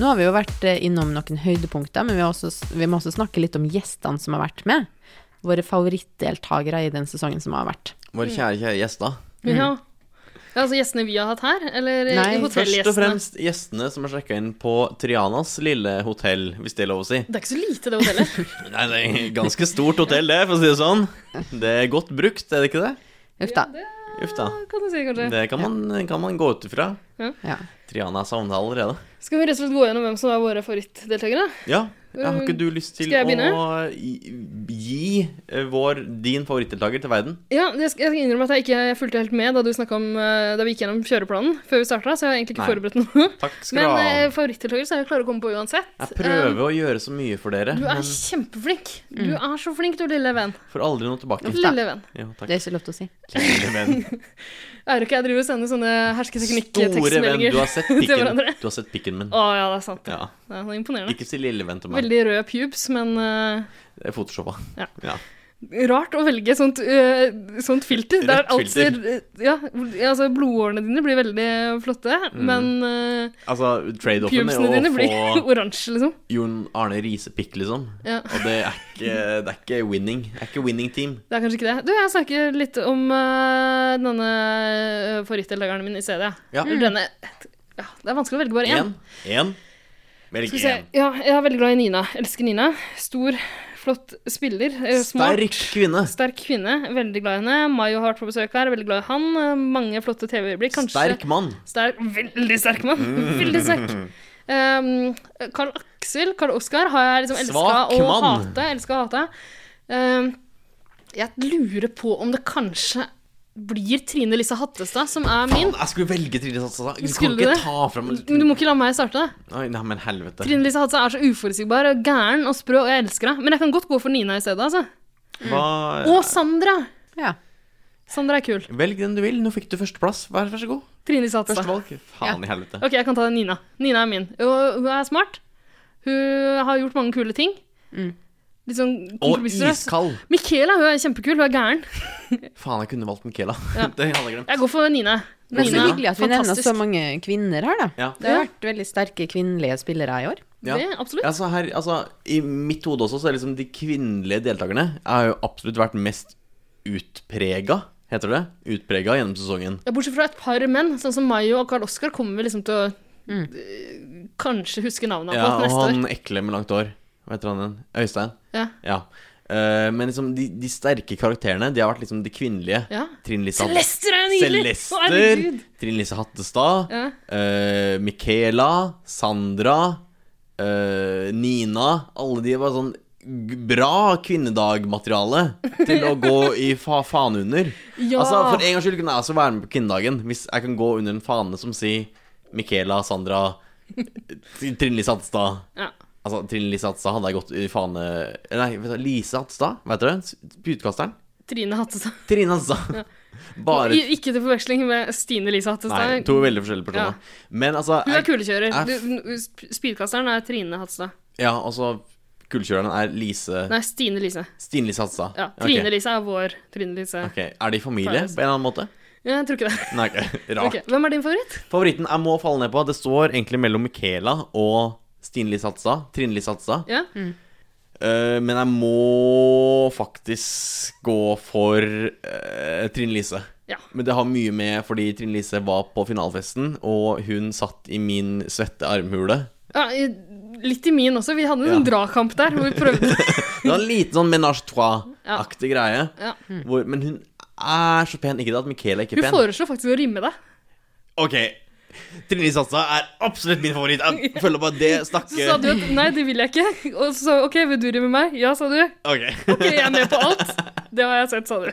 Nå har vi jo vært eh, innom noen høydepunkter, men vi, har også, vi må også snakke litt om gjestene som har vært med. Våre favorittdeltakere i den sesongen som har vært.
Våre kjære, kjære gjester.
Ja. ja, altså gjestene vi har hatt her? Eller
Nei, først
hotellgjestene?
og fremst gjestene som har sjekka inn på Trianas lille hotell, hvis det er lov å si.
Det er ikke så lite, det hotellet.
Nei, det er et ganske stort hotell, det, for å si det sånn. Det er godt brukt, er det ikke det?
Uff da.
Uff da.
kan du si, kanskje.
Det kan man, kan man gå ut ifra.
Ja.
Triana er savna allerede.
Skal vi rett og slett gå gjennom hvem som er våre favorittdeltakere?
Ja, ja, har ikke du lyst til
Skal jeg
å
begynne?
gi- gi eh, vår, din favorittdeltaker til verden?
Ja, det skal- jeg skal innrømme at jeg ikke fulgte helt med da, du snakket om, eh, da vi gikk gjennom kjøreplanen før vi starta, så jeg har egentlig ikke
Nei.
forberedt noe.
Takk skal
Men
du
eh,
ha.
favorittdeltaker så er jeg klare å komme på uansett.
Jeg prøver å gjøre så mye for dere,
Eh, Du er
men
kjempeflink. Du
Mm.
er så flink, du lille venn.
får aldri noe tilbake.
Lille venn.
Ja, takk.
Det er ikke lov til å si.
Lille venn.
Er det ikke jeg driver og sender sånne
Store venn.
hersketeknikk-tekstmeldinger
Du har sett
til
pikken,
hverandre?
du har sett pikken min.
Å ja, det er sant.
Ja.
Det er imponerende.
Ikke si lille venn til meg.
Veldig røde pubes, men eh,
Det er photoshoppa.
Ja.
Ja.
rart å velge sånt, eh, sånt filter.
Rødt
Der alt
filter.
ser eh, Ja, altså blodårene dine blir veldig flotte,
Mm.
men eh,
Altså, trade-offen er
pubesene
å
dine blir
få
oransje, liksom.
Jon Arne Risepikk, liksom.
Ja.
Og det er ikke, det er ikke winning. Det er ikke winning team.
Det er kanskje ikke det. Du, jeg snakker litt om eh, denne eh, favorittdeltakeren min i CD.
Ja.
Eller Denne ja, Det er vanskelig å velge bare én.
Én. Én. Velg
Skal vi se.
én.
Ja, jeg er veldig glad i Nina. Elsker Nina. Stor, flott spiller. eh, smart.
Sterk kvinne.
Sterk kvinne. Veldig glad i henne. Mayo har vært på besøk her. Veldig glad i han. Eh, Mange flotte TV-øyeblikk. Kanskje
Sterk mann.
Sterk, veldig sterk mann.
Mm.
Veldig sterk. Um, Karl Aksel, Karl Oskar, har jeg liksom
Svak
elska og
mann.
hata. Elska og hata. Um, jeg lurer på om det kanskje blir Trine Lise Hattestad som er min.
Jeg skulle velge Trine Sattestad. Du
Skulle
kan ikke
det?
ta fram
Men du må ikke la meg starte.
Oi, nei, men helvete.
Trine Lise Hattestad er så uforutsigbar og gæren og sprø, og jeg elsker henne. Men jeg kan godt gå for Nina i stedet, altså.
Hva
Og Sandra.
Ja.
Sandra er kul.
Velg den du vil. Nå fikk du førsteplass. Vær, vær så god.
Trine Lise Hattestad.
Førstevalg. Faen i helvete.
Ok, jeg kan ta Nina. Nina er min. Og hun er smart. Hun har gjort mange kule ting.
Mm.
Litt sånn
Og
kompromissløs.
iskald.
Michaela hun er kjempekul. Hun er gæren.
Faen, jeg kunne valgt Michaela.
Ja.
Det hadde jeg glemt.
Jeg går for Nina.
Men så
Nina,
hyggelig at vi nevner så mange kvinner her, da.
Ja.
Det har vært veldig sterke kvinnelige spillere i år.
Ja. Altså, her, altså, I mitt hode også, så er liksom de kvinnelige deltakerne har jo absolutt vært mest utprega, heter det. Utprega gjennom sesongen.
Ja, bortsett fra et par menn, sånn som Mayo og Carl Oskar, kommer vi liksom til å
Mm.
eh, kanskje huske navnene
Ja,
på
og
neste
han
år.
ekle med langt hår. Hva heter han igjen? Øystein?
Ja.
Eh, men liksom de, de sterke karakterene, de har vært liksom de kvinnelige.
Ja.
Trine Lise Hatt-
Celester er nydelig! Å,
Celester,
herregud!
Trine Lise Hattestad,
Ja.
eh, Michaela, Sandra, eh, Nina Alle de var sånn g- bra kvinnedagmateriale til å gå i fa faen under.
Ja.
Altså, for en gangs skyld kunne jeg også være med på kvinnedagen, hvis jeg kan gå under en fane som sier Michaela, Sandra, eh, Trine Lise Hattestad.
Ja.
Altså, Trine Lise Hattestad hadde jeg gått i fane Nei, vet du, Lise Hattestad, vet du det? Spytkasteren.
Trine Hattestad.
Trine Hattestad.
Ja.
Bare
I- Ikke til forveksling med Stine Lise Hattestad.
Nei, to veldig forskjellige personer.
Ja.
Men altså
Hun er
jeg-
kulekjører.
jeg-
Du- sp- Spydkasteren er Trine Hattestad.
Ja, altså Kullkjøreren er Lise
Nei, Stine Lise.
Stine Lise Hattestad.
Ja,
Ok.
Trine Lise er vår Trine Lise.
Ok, Er de i familie på en eller annen måte?
Ja, jeg tror ikke det.
Nei, ok, rart.
Ok, Hvem er din favoritt?
Favoritten jeg må falle ned på, det står egentlig mellom Michaela og Stine Lise Hattestad. Trine Lise Hattestad.
Ja?
Eh, men jeg må faktisk gå for eh, Trine Lise. Men det har mye med fordi Trine Lise var på finalfesten, og hun satt i min svette armhule.
Ja, i, litt i min også. Vi hadde en sånn dragkamp der hvor vi prøvde.
Det var en liten sånn menage trois-aktig greie.
Ja.
Hvor, men hun er så pen. Ikke det at Michaela er ikke
Hun
pen.
foreslo faktisk å rimme deg.
Ok. Trine Lise Hatsa er absolutt min favoritt. Jeg føler bare det
Så sa du
snakker
at nei, det vil jeg ikke. Og så sa hun, OK, vil du rimme meg? Ja, sa du.
Ok.
OK, jeg er med på alt. Det har jeg sett, sa du.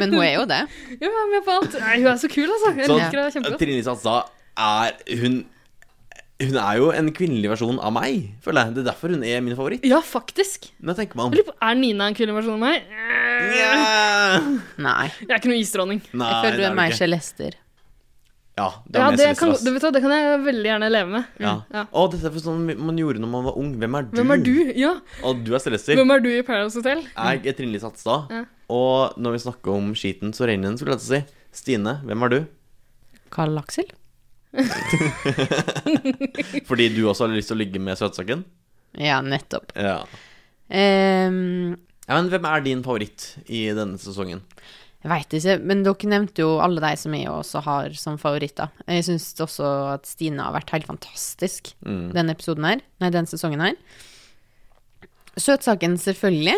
Men hun er jo det.
Ja, jeg er med på alt. Nei, hun er så kul, altså. Jeg
Så
liker henne kjempegodt.
Sånn. Trine Lise Hatsa er Hun Hun er jo en kvinnelig versjon av meg, føler jeg. Det er derfor hun er min favoritt.
Ja, faktisk.
Nå tenker man
Jeg lurer på, Er Nina en kul versjon av meg?
Nei.
Jeg er ikke noe isdronning.
Nei,
Jeg føler
det
du
er
er
du
mer
ikke.
Celester.
Ja, det
Ja,
er
det,
mest
kan,
Celeste,
du
ass.
vet hva, det kan jeg veldig gjerne leve med.
Ja.
Ja.
Å, dette er for sånn man gjorde når man var ung. Hvem er du?
Hvem er du? Ja.
Og du er Celester.
Hvem er du i Paradise Hotel?
Jeg er Trine Lise Hatstad.
Ja.
Og når vi snakker om skiten, så regner den, skulle jeg til å si. Stine, hvem er du?
Karl Aksel?
Fordi du også har lyst til å ligge med søtsaken?
Ja, nettopp.
Ja.
Ehm,
ja. Men hvem er din favoritt i denne sesongen?
jeg veit ikke, men dere nevnte jo alle de som jeg også har som favoritter. Jeg syns også at Stine har vært helt fantastisk
Mm.
denne episoden her. Nei, den sesongen her. Søtsaken, selvfølgelig.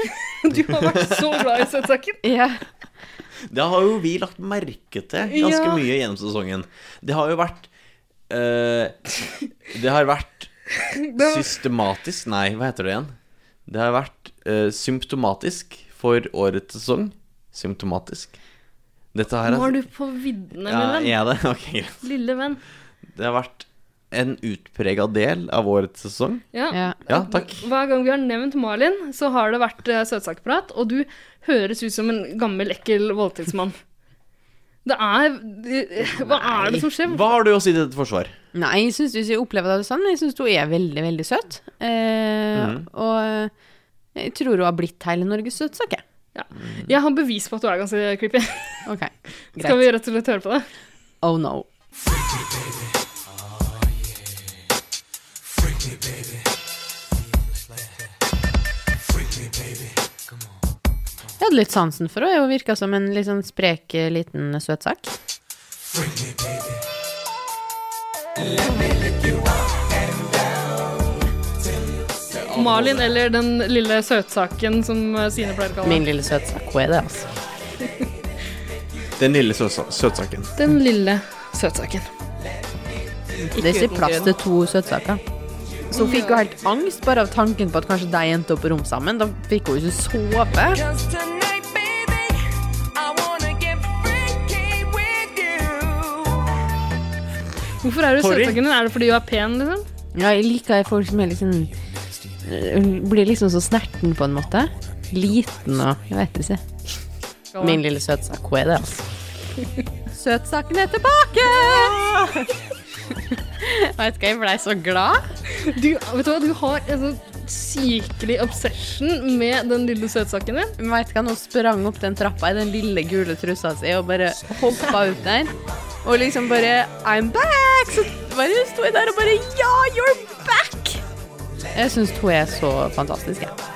Du har vært så glad i søtsaken.
Ja.
Det har jo vi lagt merke til ganske
Ja.
mye gjennom sesongen. Det har jo vært eh, Det har vært
var-
systematisk Nei, hva heter det igjen? Det har vært eh, symptomatisk for årets sesong. Symptomatisk. Dette her
Nå er du på viddene,
ja,
min venn.
er det? Ok, greit.
Lille venn.
Det har vært en utprega del av årets sesong.
Ja.
Ja, takk.
Hver gang vi har nevnt Malin, så har det vært eh, søtsakprat, og du høres ut som en gammel, ekkel voldtektsmann. Det er Hva er det som skjer?
Hva har du å si til dette forsvar?
Nei, jeg syns ikke jeg opplever det sånn. men Jeg syns hun er veldig, veldig søt. Eh,
Mhm.
Og jeg tror hun har blitt hele Norges søtsak, jeg.
Jeg har bevis på at du er ganske creepy.
Ok,
Skal vi rett og slett høre på det?
Oh no. Jeg hadde litt sansen for henne. Hun virka som en litt sånn sprek, eh, liten søtsak.
Malin eller den lille søtsaken som eh, Sine pleier å kalle
Min lille søtsak. Hun er det, altså.
Den lille søtsa- søtsaken.
Den lille søtsaken.
Det er ikke plass til to søtsaker. Så hun fikk jo helt angst bare av tanken på at kanskje de endte opp på rom sammen. Da fikk hun jo ikke sove.
Hvorfor er du
Sorry.
søtsaken din? Er det fordi du er pen, liksom?
Ja, jeg liker folk som er liksom øh, Blir liksom så snerten på en måte. Liten og Jeg vet ikke. Min lille søtsak, hun er det, altså. Søtsaken er tilbake! vet ikke, jeg blei så glad.
Du, vet du hva, du har en sånn sykelig obsession med den lille søtsaken din.
Veit ikke, hun sprang opp den trappa i den lille gule trussa si og bare hoppa ut der. Og liksom bare I'm back! Så bare sto jeg der og bare Ja, you're back! Jeg syns hun er så fantastisk, jeg.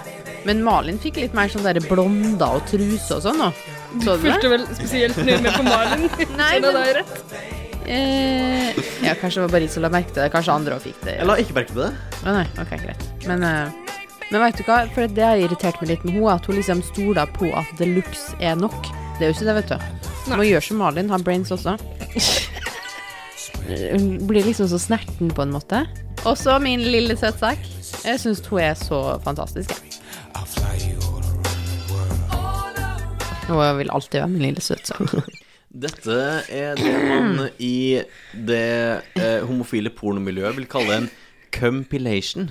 Men Malin fikk litt mer sånn derre blonda og truse og sånn, og.
Du fulgte vel spesielt nøye med på Malin.
Nei,
Skjønner
men-
jeg deg rett?
Eh, ja, kanskje det var bare jeg som la merke til det. Kanskje andre òg fikk det.
Jeg la ikke merke til det.
Å nei, ok, greit. Men, eh, men vet du hva, for det har irritert meg litt med henne, at hun liksom stoler på at de luxe er nok. Det er jo ikke det, vet du. Du må gjøre som Malin, ha brains også. Hun blir liksom så snerten på en måte. Også min lille søtsak. Jeg syns hun er så fantastisk, jeg. Og jeg vil alltid være min lille søtsak.
Dette er det man i det eh, homofile pornomiljøet vil kalle en compilation,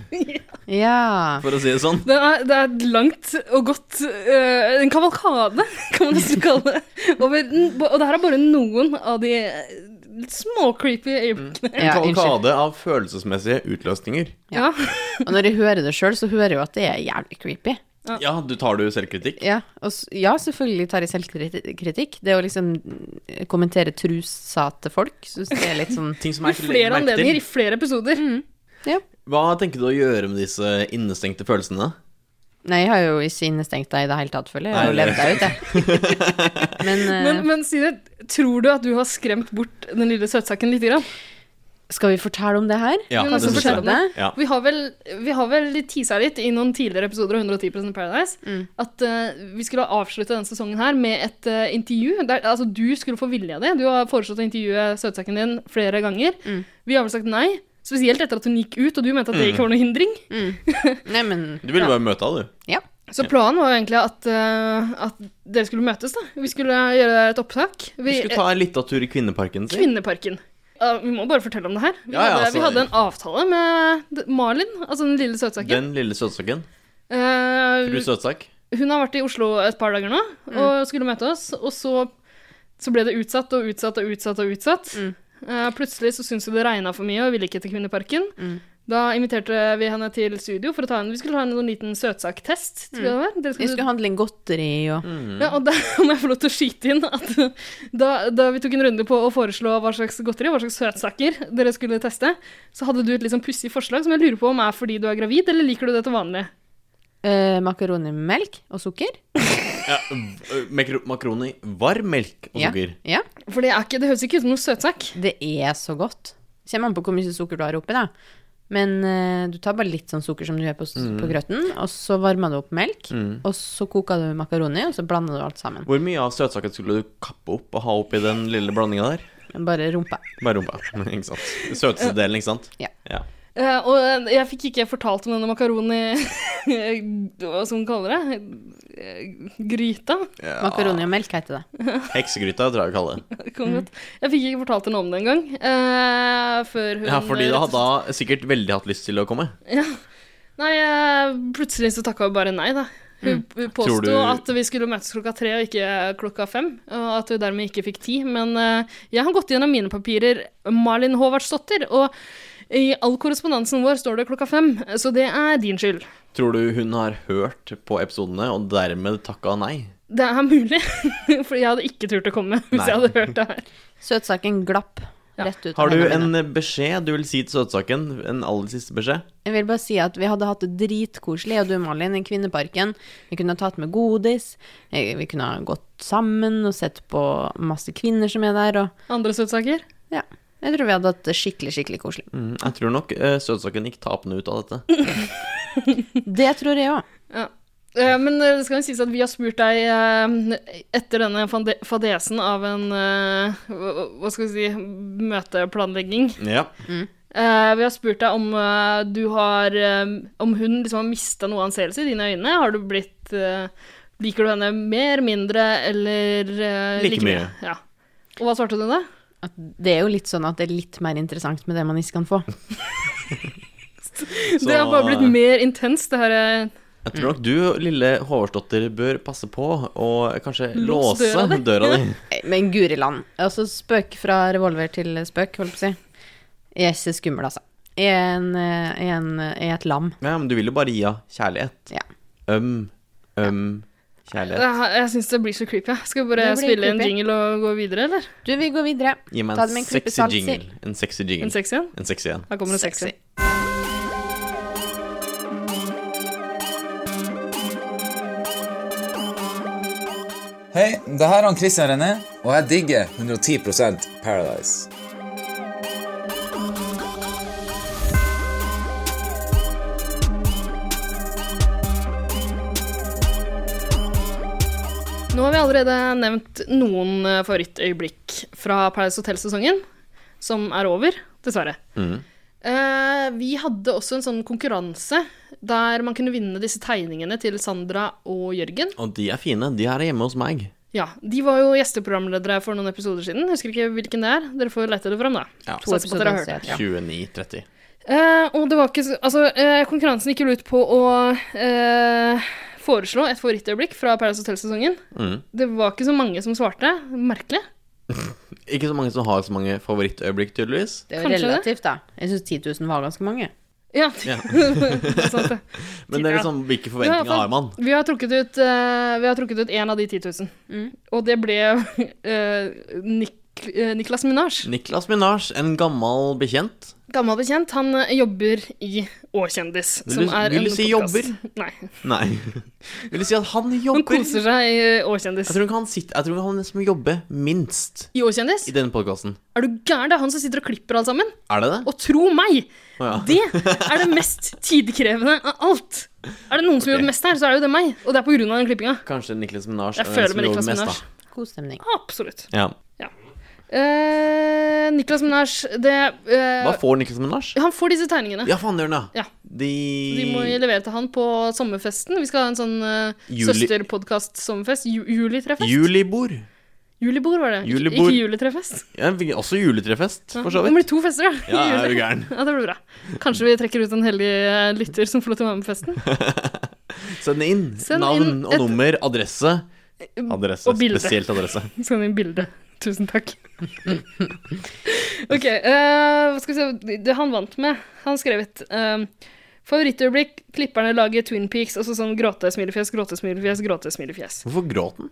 Ja.
for å si det sånn.
Det er, det er et langt og godt øh, En kavalkade, kan man nesten kalle det. Over, den- og det her er bare noen av de litt småcreepy øyeblikkene.
En kavalkade av følelsesmessige utløsninger.
Ja.
Og når jeg hører det sjøl, så hører jeg jo at det er jævlig creepy.
Ja, du tar du selvkritikk?
Ja, og, s- ja, selvfølgelig tar jeg selvkritikk. Det å liksom eh, kommentere trusa til folk, syns jeg er litt sånn
Ting som
I
jeg ikke legger
flere
merke
anledninger, i
til. Mm.
flere episoder.
Ja.
Hva tenker du å gjøre med disse innestengte følelsene?
Nei, jeg har jo ikke innestengt deg i det hele tatt, føler jeg. Jeg har jo
Nei,
levd deg ut, jeg. Men, eh,
Men, men Sine, tror du at du har skremt bort den lille søtsaken lite grann?
Skal vi fortelle om det her?
Ja,
Vi
det
må også
synes jeg.
fortelle om det.
Ja.
Vi har vel, vi har vel tisa litt i noen tidligere episoder av 110 Paradise at eh, vi skulle avslutte denne sesongen her med et eh, intervju. Der, altså, du skulle få vilja di. Du har foreslått å intervjue søtsaken din flere ganger. Vi har vel sagt nei. Spesielt etter at hun gikk ut, og du mente at det
Mm.
ikke var noe hindring.
Nei, men
Du ville bare møte henne, du.
Så planen var jo egentlig at, eh, at dere skulle møtes, da. Vi skulle gjøre et opptak. eh,
Vi skulle ta en liten tur i Kvinneparken. si.
Kvinneparken. Ja, vi må bare fortelle om det her. Vi,
Ja, ja,
hadde,
altså-
vi hadde en avtale med d- Malin, altså den lille søtsaken.
Den lille søtsaken.
Eh,
Fru Søtsak.
hun har vært i Oslo et par dager nå og skulle møte oss. Og så, så ble det utsatt og utsatt og utsatt og utsatt. Eh, plutselig så syntes hun det regna for mye og ville ikke til Kvinneparken. Da inviterte vi henne til studio for å ta en, vi skulle ta en sånn liten søtsaktest. Tror jeg det var. Dere
Vi skulle handle inn godteri og
ja, og da må jeg få lov til å skyte inn at da, da vi tok en runde på å foreslå hva slags godteri, hva slags søtsaker dere skulle teste, så hadde du et litt sånn pussig forslag som jeg lurer på om er fordi du er gravid, eller liker du det til vanlig?
eh, makaroni med melk og sukker.
Ja, ø, makro makroni, varm melk og
Ja.
sukker.
Ja.
For det, høres ikke ut som noe søtsak.
Det er så godt. Kommer an på hvor mye sukker du har oppi, da. Men eh, du tar bare litt sånn sukker som du gjør på, s-
Mm.
på grøten, og så varmer du opp melk,
Mm.
og så koker du makaroni, og så blander du alt sammen.
Hvor mye av søtsaken skulle du kappe opp og ha oppi den lille blandinga der?
Bare rumpa.
Bare rumpa. ikke sant. Søteste delen, ikke sant?
Ja.
Eh, og jeg fikk ikke fortalt om denne makaroni Hva som hun kaller det? Eh, Gryta?
Ja.
Makaroni og melk heter det.
Heksegryta, tror jeg vi kaller det.
Det kom godt. Jeg fikk ikke fortalt henne om det engang. Uh, før hun
Ja, fordi da hadde hun sikkert veldig hatt lyst til å komme.
Ja. Nei, eh, plutselig så takka hun bare nei, da. Hun hun
Mm. Tror
påsto
du-
at vi skulle møtes klokka tre og ikke klokka fem, og at hun dermed ikke fikk tid. Men eh, jeg har gått gjennom mine papirer, Malin Håvardsdottir, og i all korrespondansen vår står det klokka fem, så det er din skyld.
Tror du hun har hørt på episodene og dermed takka nei?
Det er mulig, for jeg hadde ikke turt å komme hvis
Nei.
jeg hadde hørt det her.
Søtsaken glapp rett ut. av
Har du
hendene
en beskjed du vil si til søtsaken? En aller siste beskjed?
Jeg vil bare si at vi hadde hatt det dritkoselig, og du, Malin, i Kvinneparken. Vi kunne ha tatt med godis, eh, vi kunne ha gått sammen og sett på masse kvinner som er der, og
Andre søtsaker?
Ja. Jeg tror vi hadde hatt det skikkelig, skikkelig koselig.
Mm, jeg tror nok eh, søtsaken gikk tapende ut av dette.
Det tror jeg òg.
Ja. Eh, Men eh, det skal jo sies at vi har spurt deg eh, etter denne fande- fadesen av en eh, hva- Hva skal vi si møteplanlegging.
Ja.
Eh, Vi har spurt deg om eh, du har eh, Om hun liksom har mista noe anseelse i dine øyne. Har du blitt eh, Liker du henne mer, mindre eller eh,
Like
like
mye.
Ja. Og hva svarte du da?
Det er jo litt sånn at det er litt mer interessant med det man ikke kan få.
Det har bare blitt mer intenst, det her. eh,
Jeg tror nok du, lille Håvardsdotter, bør passe på å kanskje
Lås
låse
døra di.
døra di.
Men guri land. Altså, spøk fra revolver til spøk, holdt på å si. Jeg er ikke skummel, altså. Jeg er, en, eh, jeg er en, eh, jeg er et lam.
Ja, men du vil jo bare gi henne kjærlighet.
Ja.
Øm, øm, kjærlighet.
Jeg, jeg syns det blir så creepy. jeg. Skal vi bare
Det blir
spille en
creepy.
jingle og gå videre, eller?
Du, vi går videre.
Gi meg
Ta det
en
med en klype
sexy
salt, si.
jingle. En sexy jingle.
En sexy en?
En sexy en.
Her kommer det sexy.
Hei, det her er han Christian René, og jeg digger 110 Paradise.
Nå har vi allerede nevnt noen eh, favorittøyeblikk fra Paradise Hotel-sesongen, som er over, dessverre. Eh, vi hadde også en sånn konkurranse der man kunne vinne disse tegningene til Sandra og Jørgen.
Og de er fine. De her er hjemme hos meg.
Ja, De var jo gjesteprogramledere for noen episoder siden. Jeg Husker ikke hvilken det er. Dere får lete det fram, da.
To
Satser på at dere har hørt det.
29-30.
Eh, og det var ikke så Altså, eh, konkurransen gikk jo ut på å eh, foreslå et favorittøyeblikk fra Paradise Hotel-sesongen.
Mm.
Det var ikke så mange som svarte. Merkelig.
Ikke så mange som har så mange favorittøyeblikk, tydeligvis.
Det er jo
Kanskje det.
relativt, da. Jeg syns 10 000 var ganske mange.
Ja.
Ja.
det er sant, det.
Men det er liksom, hvilke forventninger har man?
Vi har trukket ut eh, Vi har trukket ut én av de 10 000. Og det ble eh, Nik eh, Niklas Minasj.
Niklas Minaj, en gammel bekjent.
Gammel bekjent. Han eh, jobber i Åkjendis.
Vil du- vil du si
podcast.
jobber?
Nei.
Nei. Vil du si at han jobber
Han koser seg i Åkjendis.
Jeg tror ikke han sitter Jeg tror han er den som jobber minst
I Åkjendis?
i denne podkasten.
Er du gæren? Det er han som sitter og klipper alt sammen.
Er det det?
Og tro meg,
Å ja.
det er det mest tidkrevende av alt. Er det noen som
Ok.
jobber mest her, så er det jo det meg. Og det er på grunn av den klippinga.
Kanskje Niklas Minaj
Jeg føler med Niklas Minaj.
God stemning.
Absolutt.
Ja.
Eh, Niklas Minaj, det eh,
Hva får Niklas Minaj?
Han får disse tegningene.
Ja, faen, det gjør han,
Ja.
De,
De må jo levere til han på sommerfesten. Vi skal ha en sånn uh,
Juli-
søsterpodkast-sommerfest. Ju julitrefest.
Julibord.
Julibord var det. Ikke-
Julibord.
Ikke juletrefest.
Ja, vi- også juletrefest, for så
Det blir
vidt.
to fester, da.
Ja,
Jule-
er du gæren.
Ja, det blir bra. Kanskje vi trekker ut en heldig eh, lytter som får lov til å være med på festen.
Send inn
Send
navn
inn
og
et- Mm,
nummer, adresse. Adresse.
og bilde.
Spesielt adresse.
Send inn bilde. Tusen takk. ok, eh, hva skal vi se Det han vant med, han skrev et eh, favorittøyeblikk. Klipperne lager Twin Peaks, altså sånn gråte, smilefjes, gråte, smilefjes, gråte, smilefjes.
Hvorfor gråt han?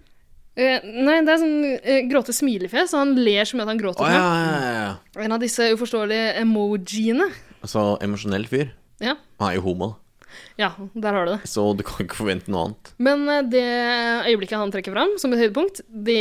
Eh, nei, det er sånn eh, gråte smilefjes, og han ler som at han gråter.
Å
nå.
ja, ja, ja, ja.
En av disse uforståelige emojiene.
Altså, emosjonell fyr.
Ja,
Han er jo homo,
ja, der har du det.
så du kan ikke forvente noe annet.
Men eh, det øyeblikket han trekker fram som et høydepunkt, det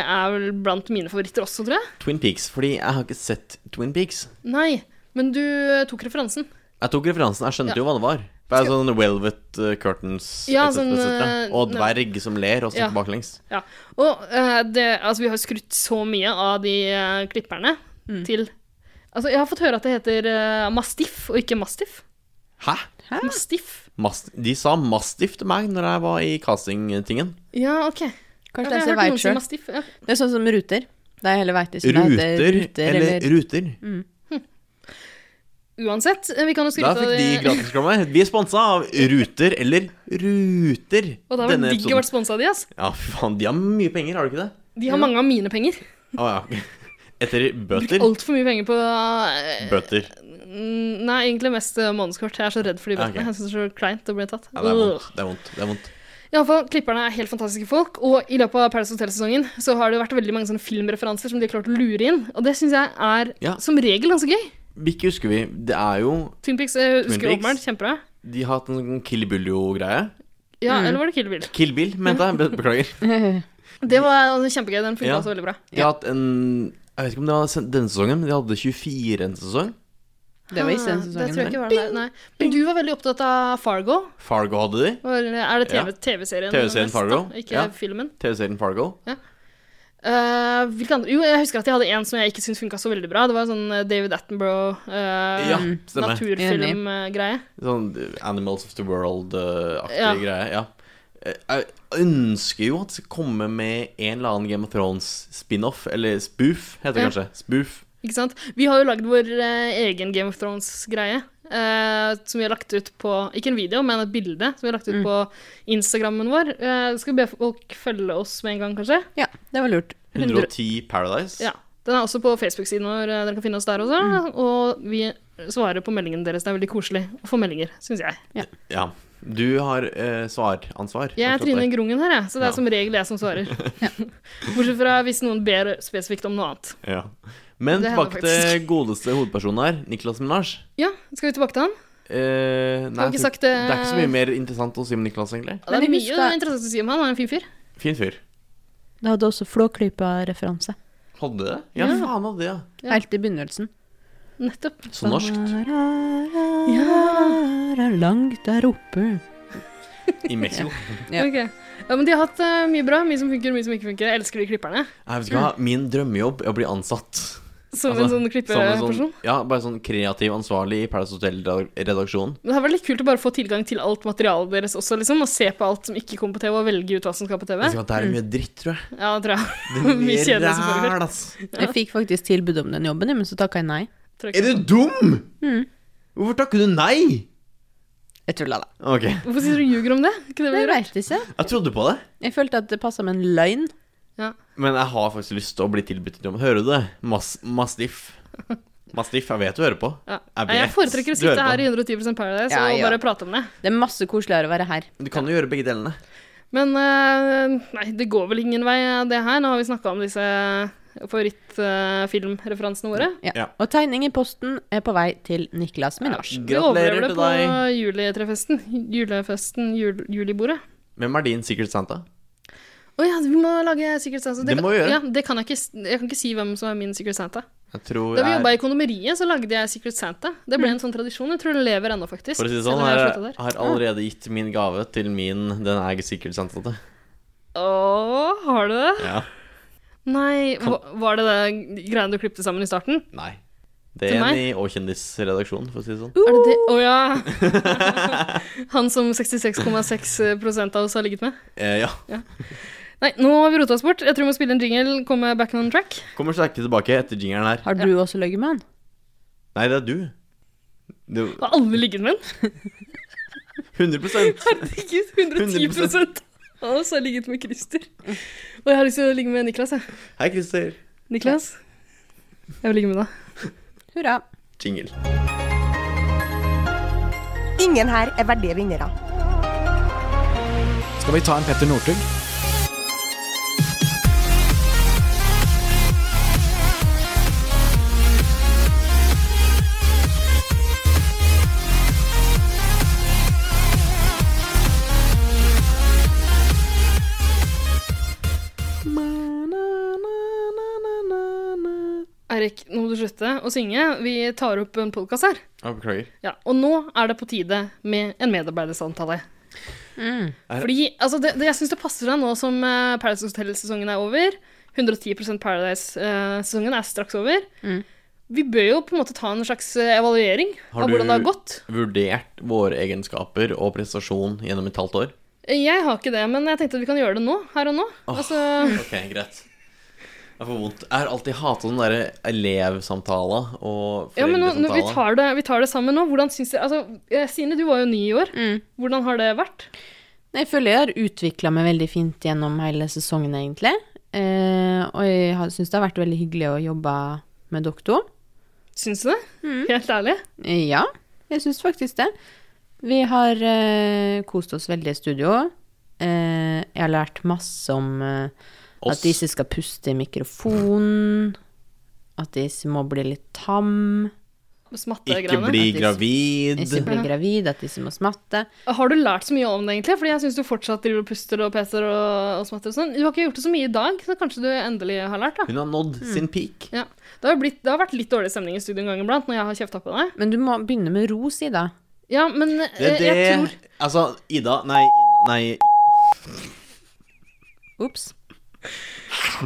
er vel blant mine favoritter også, tror jeg.
Twin Peaks, fordi jeg har ikke sett Twin Peaks.
Nei, men du eh, tok referansen.
Jeg tok referansen, jeg skjønte
Ja.
jo hva det var. Det er sånn velvet uh, curtains
Ja,
et
sånn,
cetera, et cetera.
eh,
Og
nei.
dverg som ler og står
Ja.
baklengs.
Ja. Og eh, det, altså, vi har skrutt så mye av de eh, klipperne til Altså, jeg har fått høre at det heter eh, mastiff og ikke mastiff.
Hæ?
Mastiff.
Mast de sa mastiff til meg når jeg var i castingtingen.
Ja, OK.
Kanskje det
Ja, for
er så
jeg har hørt noen
veit
si
selv.
mastiff, ja.
Det er sånn som ruter. Det er hele veiter som det heter
Ruter, eller, ruter.
Mm.
Uansett, eh, vi kan jo
Da
skryte
fikk de
av det.
gratisreklame. Vi er sponsa av Ruter eller Ruter.
Og da var det digg å vært sponsa av de, ass.
Ja, fy faen, de har mye penger, har de ikke det?
De har mange av mine penger.
Å ja. Etter bøter.
Altfor mye penger på eh,
Bøter.
mm, Nei, egentlig mest eh, månedskort. Jeg er så redd for de
Ja, ok.
bøtene. Jeg syns det er så kleint å bli tatt.
Ja, det er
Ugh.
vondt. Det er vondt. Det er vondt.
I alle fall, Klipperne er helt fantastiske folk, og i løpet av Paradise Hotel-sesongen så har det vært veldig mange sånne filmreferanser som de har klart å lure inn, og det syns jeg er
Ja.
som regel ganske gøy.
Hvilke husker vi? Det er jo
Twin Peaks jeg husker
Twin Peaks?
åpenbart kjempebra.
De har hatt en sånn Kill Bill-greie.
Ja,
Mm.
eller var det Kill Bill?
Kill Bill, mente jeg. Be- Beklager.
Det var altså, kjempegøy. Den funka
Ja.
også veldig bra.
De har hatt en Jeg vet ikke om det var sen- denne sesongen, men de hadde 24 en sesong.
Det var ikke den
Ah,
sesongen.
Det tror jeg ikke var den der, nei. Men du var veldig opptatt av Fargo.
Fargo hadde de.
Var- Er det
Ja.
TV TV-serien?
TV-serien
mest,
Fargo,
Da, ikke
ja.
filmen.
TV-serien Fargo.
Eh, hvilke andre? Jo, jeg husker at jeg hadde en som jeg ikke syntes funka så veldig bra. Det var sånn eh, David
Ja,
eh, Attenborough-naturfilmgreie.
stemmer.
naturfilmgreie.
Sånn eh, Animals of the World-aktig
Ja.
greie. Ja. Eh, Jeg ønsker jo at det skal komme med en eller annen Game of Thrones-spin-off, eller spoof, heter det
Ja.
kanskje. Spoof.
Ikke sant? Vi har jo lagd vår eh, egen Game of Thrones-greie. eh, som vi har lagt ut på Ikke en video, men et bilde som vi har lagt ut på Instagrammen vår. Eh, skal vi be folk følge oss med en gang, kanskje?
Ja, det var lurt.
110 Paradise.
Ja. Den er også på Facebook-siden vår. eh, Dere kan finne oss der også. Og vi svarer på meldingene deres. Det er veldig koselig å få meldinger, syns jeg.
Ja. Du har eh, svaransvar.
Jeg er
akkurat der.
Trine Grungen her, jeg, så det
Ja.
er som regel jeg som svarer. Bortsett fra hvis noen ber spesifikt om noe annet.
Ja. Men
Det hender
tilbake til godeste hovedpersonen her, Niklas Minaj.
Ja, skal vi tilbake til han?
Eh, nei,
ikke
jeg tror-
sagt
det
det-
er ikke så mye mer interessant å si om Niklas, egentlig.
Det er
Men
mye
jeg husker-
interessant å si om han. Han er en fin fyr.
Fin fyr.
Det hadde også Flåklypa-referanse.
Hadde det? Ja,
Ja.
faen hadde det, ja.
Helt i begynnelsen.
Nettopp.
Så norskt.
Ja, langt der oppe.
I Mexico.
Ja.
Ok. Ja, men de har hatt eh, mye bra. Mye som funker, mye som ikke funker. Jeg elsker de klipperne.
Jeg vet ikke hva, Min drømmejobb er å bli ansatt. Altså,
Som en sånn klipper-
som en sånn-
person?
Ja, bare sånn kreativ ansvarlig i Paradise Hotel-redaksjonen.
Men det hadde vært litt kult å bare få tilgang til alt materialet deres også, liksom. Og se på alt som ikke kom på TV, og velge ut hva som skal på TV.
Vet du hva, Det er mye dritt, tror jeg.
Ja, det tror jeg.
Det er
Mm. Mye
mye
kjedelig som
ræl,
foregår.
ass.
Jeg fikk faktisk tilbud om den jobben, men så takka jeg nei.
Tror jeg
Er
ikke
du dum?!
Mm.
Hvorfor takker du nei?!
Jeg tulla, da.
Ok,
Hvorfor sier du ljuger om det? Ikke det vi
Jeg
gjør?
veit ikke.
Jeg trodde på det,
Jeg følte at det passa med en løgn.
men jeg har faktisk lyst til å bli tilbudt en jobb. Hører du det? Mas Mastiff. Mastiff, jeg vet du hører på.
Ja.
Jeg
Nei, Jeg
vet
foretrekker å
du hører
sitte her i
på.
110 Paradise
Ja,
og
ja.
bare prate om det.
Det er masse koseligere å være her.
Du kan jo gjøre begge delene.
eh, Men eh, nei, det går vel ingen vei, det her. Nå har vi snakka om disse favorittfilmreferansene våre.
Ja. Og tegning i posten er på vei til Niklas Minasj.
Vi overlever det på juletrefesten. Julefesten, jul, julibordet.
Hvem er din Secret Santa?
Å ja, vi må lage Secret Santa.
Det må vi gjøre.
Ja, det kan jeg, ikke, s- jeg kan ikke si hvem som er min Secret Santa.
Jeg tror
Da vi
jeg
jobba i kondomeriet, så lagde jeg Secret Santa. Det ble en sånn tradisjon. Jeg tror det lever ennå, faktisk.
For å si det
selv
sånn,
om jeg
jeg
har sluttet der.
har allerede gitt min gave til min Den er Secret Santa. til.
Å, har du det?
Ja.
Nei, hva- var det det greiene du klippet sammen i starten?
Nei. Det
Til
er en
meg? Uh.
i Å-kjendisredaksjonen, for å si det sånn.
Er det det? Å ja! Han som 66,6 av oss har ligget med?
Eh, ja.
Ja. Nei, nå har vi rota oss bort. Jeg tror vi må spille en jingle, komme back on track.
Kommer sterkere tilbake etter jingeren her.
Har du også ligget med han?
Nei, det er du. Du
Har alle ligget med en?
100
Herregud, 110 av oss har ligget med Christer. Og jeg har lyst til å ligge med Niklas, jeg.
Hei, Christer.
Niklas, jeg vil ligge med deg.
Hurra.
Jingle.
Ingen her er verdige vinnere.
Skal vi ta en Petter Northug?
Eirik, nå må du slutte å synge. Vi tar opp en podkast her.
Ja, beklager.
Ja, og nå er det på tide med en medarbeidersamtale.
Er-
Fordi altså, det, det, jeg syns det passer deg nå som eh, Paradise Hotel-sesongen er over. 110 Paradise-sesongen er straks over. Vi bør jo på en måte ta en slags eh, evaluering av hvordan det har gått.
vurdert våre egenskaper og prestasjon gjennom et halvt år?
Jeg har ikke det, men jeg tenkte at vi kan gjøre det nå. Her og nå.
Åh,
altså,
Ok, greit. Jeg får vondt. Jeg har alltid hata den derre elevsamtala og
ja, men nå, nå, vi,
foreldresamtala.
tar det, vi tar det sammen nå. Hvordan syns dere altså, eh, Stine, du var jo ny i år. Hvordan har det vært?
Jeg føler jeg har utvikla meg veldig fint gjennom hele sesongen, egentlig. Eh, og jeg syns det har vært veldig hyggelig å jobbe med dere to.
Syns du det? Helt ærlig?
Eh, Ja, jeg syns faktisk det. Vi har eh, kost oss veldig i studio. Eh, jeg har lært masse om eh,
Oss.
at disse skal puste i mikrofonen. At disse må bli litt tam.
Ikke bli gravid.
Ikke bli gravid, at disse må smatte.
Har du lært så mye om det, egentlig? Fordi jeg syns du fortsatt driver og puster og peser og, og smatter og sånn. Du har ikke gjort det så mye i dag, så kanskje du endelig har lært, da.
Hun har nådd
Mm.
sin peak.
Ja. Det, har jo blitt, det har vært litt dårlig stemning i studio en gang iblant når jeg har kjefta på deg.
Men du må begynne med ro, si da.
Ja, men eh,
Det er det
jeg tror
Altså, Ida Nei, nei
Ops.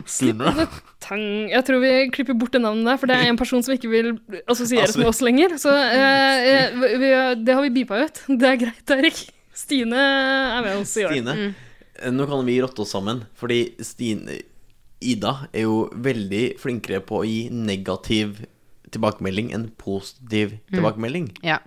Slipp
det tang. Jeg tror vi klipper bort det navnet der, for det er en person som ikke vil assosieres
Altså-
med oss lenger. Så eh, eh, vi- vi, det har vi beepa ut. Det er greit, Erik. Stine er med oss i år.
Stine,
Mm.
eh, nå kan vi rotte oss sammen, fordi Stine Ida er jo veldig flinkere på å gi negativ tilbakemelding enn positiv
Mm.
tilbakemelding.
Ja.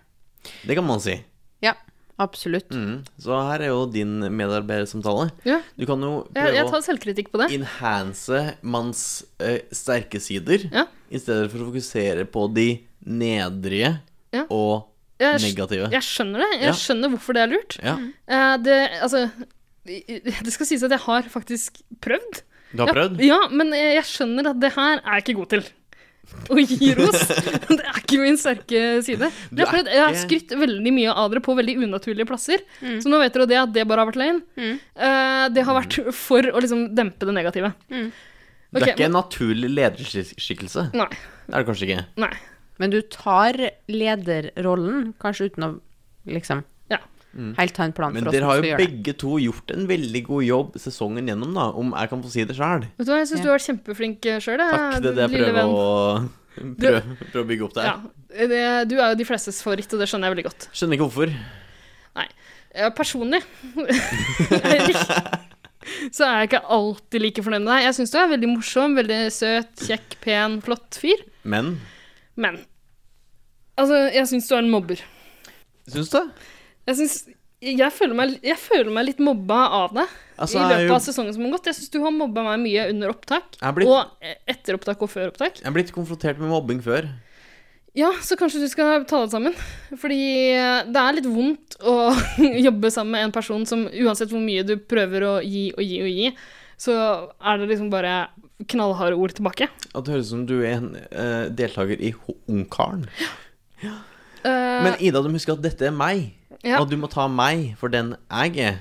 Det kan man si.
Ja, absolutt.
Mm. Så her er jo din medarbeidersamtale.
Ja.
Du kan jo
Jeg,
prøve
jeg tar selvkritikk på det.
å enhance manns eh, sterke sider,
Ja.
i stedet for å fokusere på de nedrige
Ja.
og
Jeg,
negative.
jeg skjønner det. Jeg
Ja.
skjønner hvorfor det er lurt.
Ja.
Eh, det, altså, det skal sies at jeg har faktisk prøvd.
Du har prøvd?
Ja, ja, men eh, jeg skjønner at det her er jeg ikke god til. Å gi ros. Det er ikke min sterke side. Men
Du
Jeg har,
er
prøvd, jeg har
ikke-
skrytt veldig mye av dere på veldig unaturlige plasser. Så nå vet dere det at det bare har vært løgn. Eh, det har vært for å liksom dempe det negative.
Det
Ok,
er ikke en naturlig lederskikkelse.
Nei.
Det er det kanskje ikke.
Nei.
Men du tar lederrollen, kanskje uten å liksom
Ja.
helt ta en plan
Mm. Men
for
dere
hvordan
har
du
jo
skal gjøre det.
begge to gjort en veldig god jobb sesongen gjennom, da, om jeg kan få si det sjøl.
Vet du hva, jeg syns du har vært kjempeflink eh, sjøl,
Takk, det er det jeg prøver å, prøve, prøve å bygge opp der.
Ja, det, du er jo de flestes favoritt, og det skjønner jeg veldig godt.
Skjønner ikke hvorfor.
Nei. eh, Personlig så er jeg ikke alltid like fornøyd med deg. Jeg syns du er veldig morsom, veldig søt, kjekk, pen, flott fyr.
Men
Men altså, jeg syns du er en mobber.
syns du?
Jeg, syns- jeg, føler meg, jeg føler meg litt mobba av deg
Altså,
i
jeg er
løpet
jo-
av sesongen som har gått. Jeg syns du har mobba meg mye under opptak,
Jeg er blitt-
og eh, etter opptak og før opptak.
Jeg er blitt konfrontert med mobbing før.
Ja, så kanskje du skal ta det sammen. Fordi eh, det er litt vondt å jobbe sammen med en person som uansett hvor mye du prøver å gi og gi og gi, så er det liksom bare knallharde ord tilbake.
At det høres ut som du er en eh, deltaker i Ho- Ungkaren.
Eh,
Men Ida, du må huske at dette er meg,
Ja.
og du må ta meg for den jeg er.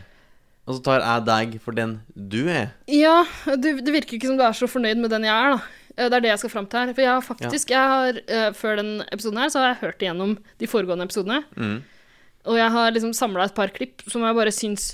Og så tar jeg deg for den du er.
Ja, det, det virker ikke som du er så fornøyd med den jeg er, da. Eh, Det er det jeg skal fram til her. For jeg har faktisk, jeg har, eh, før den episoden her, så har jeg hørt igjennom de foregående episodene.
Mm.
Og jeg har liksom samla et par klipp som jeg bare syns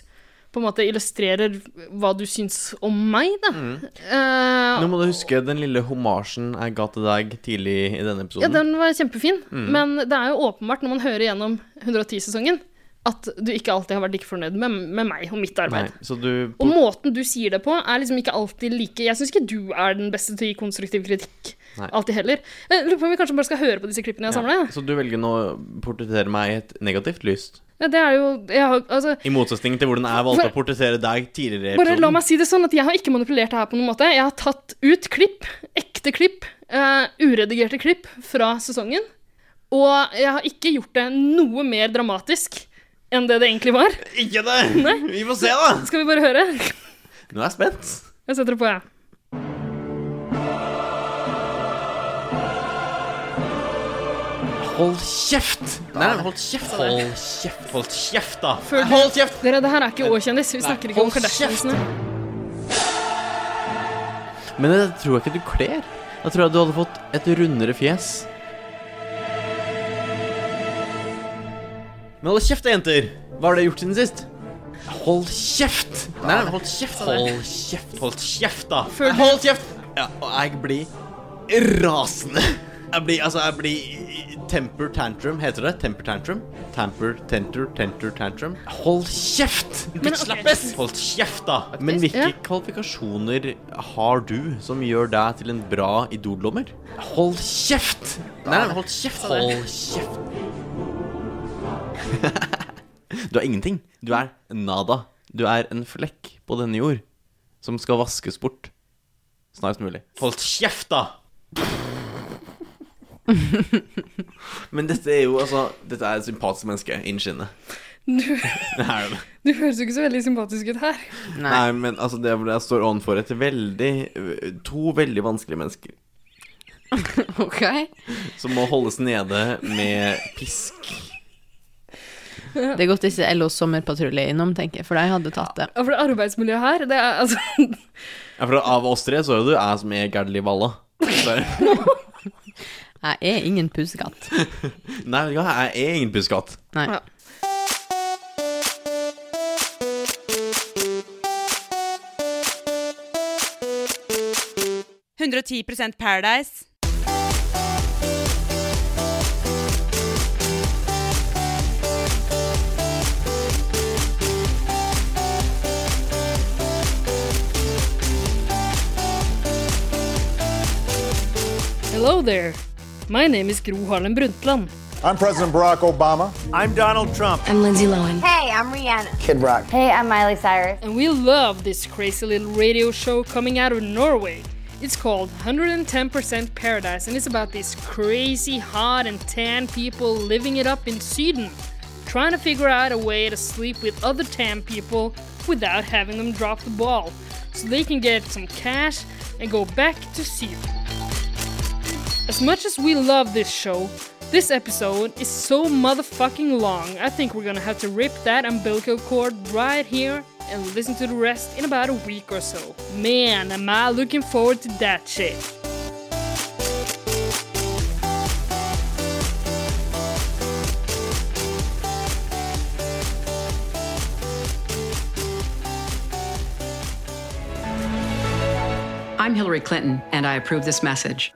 på en måte illustrerer hva du syns om meg, da.
Mm.
Eh,
Nå må du huske den lille homasjen jeg ga til deg tidlig i denne
ja,
episoden.
den var kjempefin,
Mm.
men det er jo åpenbart når man hører gjennom 110-sesongen, at du ikke alltid har vært like fornøyd med, med meg og mitt
Nei,
arbeid.
så du
Og måten du sier det på, er liksom ikke alltid like Jeg syns ikke du er den beste til å gi konstruktiv kritikk.
Nei.
Alltid heller. Jeg lurer på om vi kanskje bare skal høre på disse klippene jeg har
Ja,
samla.
Så du velger nå å portrettere meg i et negativt lys?
Ja, det er jo jeg har, altså,
I motsetning til hvordan jeg valgte
Bare-
å portrettere deg tidligere i
Bare
episoden.
la meg si det sånn at jeg har ikke manipulert det her på noen måte. Jeg har tatt ut klipp, ekte klipp, eh, uredigerte klipp fra sesongen. Og jeg har ikke gjort det noe mer dramatisk enn det det egentlig var.
Ikke det! Vi får se, da!
Skal vi bare høre?
Nå er jeg spent.
Jeg setter det på, jeg.
Hold kjeft! Nei, nei, hold kjeft.
Sånn der.
Hold kjeft, hold kjeft da.
Føl-
Hold kjeft!
Dere, det her er ikke Å-kjendis. Vi
Nei,
snakker ikke om
hold kjeft!
Kardashiansene.
Men det tror jeg ikke du kler. Da tror jeg du hadde fått et rundere fjes. Men hold kjeft, da, jenter! Hva har dere gjort siden sist? Hold kjeft! Nei, nei, hold kjeft.
Sånn der.
Hold kjeft, hold kjeft, da.
Føl-
Hold kjeft! Ja, og jeg blir rasende. Jeg blir, altså, jeg blir temper tantrum, heter det? Temper tantrum? Tamper, tenter, tenter, tantrum. Hold kjeft!
Men, ok.
Slappes! Hold kjeft, da! Men hvilke
Ja.
kvalifikasjoner har du som gjør deg til en bra idoldommer? Hold kjeft! Nei, nei, hold kjeft.
Sånn der.
Hold kjeft. Du er ingenting. Du er nada. Du er en flekk på denne jord som skal vaskes bort snarest mulig. Hold kjeft, da! Men dette er jo altså Dette er et sympatisk menneske innen skinnet.
Du,
Det er det.
du høres jo ikke så veldig sympatisk ut her.
Nei. men altså, det er fordi jeg står ovenfor et veldig øh, To veldig vanskelige mennesker
OK.
som må holdes nede med pisk.
Det er godt disse LO Sommerpatrulje er innom, tenker jeg, for de hadde tatt det.
Ja, For det arbeidsmiljøet her, det er altså
Ja, for av oss tre så er det jo jeg som er Gerd Liv Valla. Så-
Jeg er ingen pusekatt.
Nei, vet du hva, jeg er ingen puskatt.
Nei.
Ja.
Paradise. 110 Paradise.
Hello there. My name is Gro Harlem Brundtland.
I'm President Barack Obama. I'm Donald Trump.
I'm Lindsay Lohan.
Hey, I'm Rihanna.
Kid Rock.
Hey, I'm Miley Cyrus.
And we love this crazy little radio show coming out of Norway. It's called 110% Paradise and it's about these crazy, hot, and tan people living it up in Sweden, trying to figure out a way to sleep with other tan people without having them drop the ball so they can get some cash and go back to Sweden. As much as we love this show, this episode is so motherfucking long. I think we're gonna have to rip that umbilical cord right here and listen to the rest in about a week or so. Man, am I looking forward to that shit.
I'm Hillary Clinton, and I approve this message.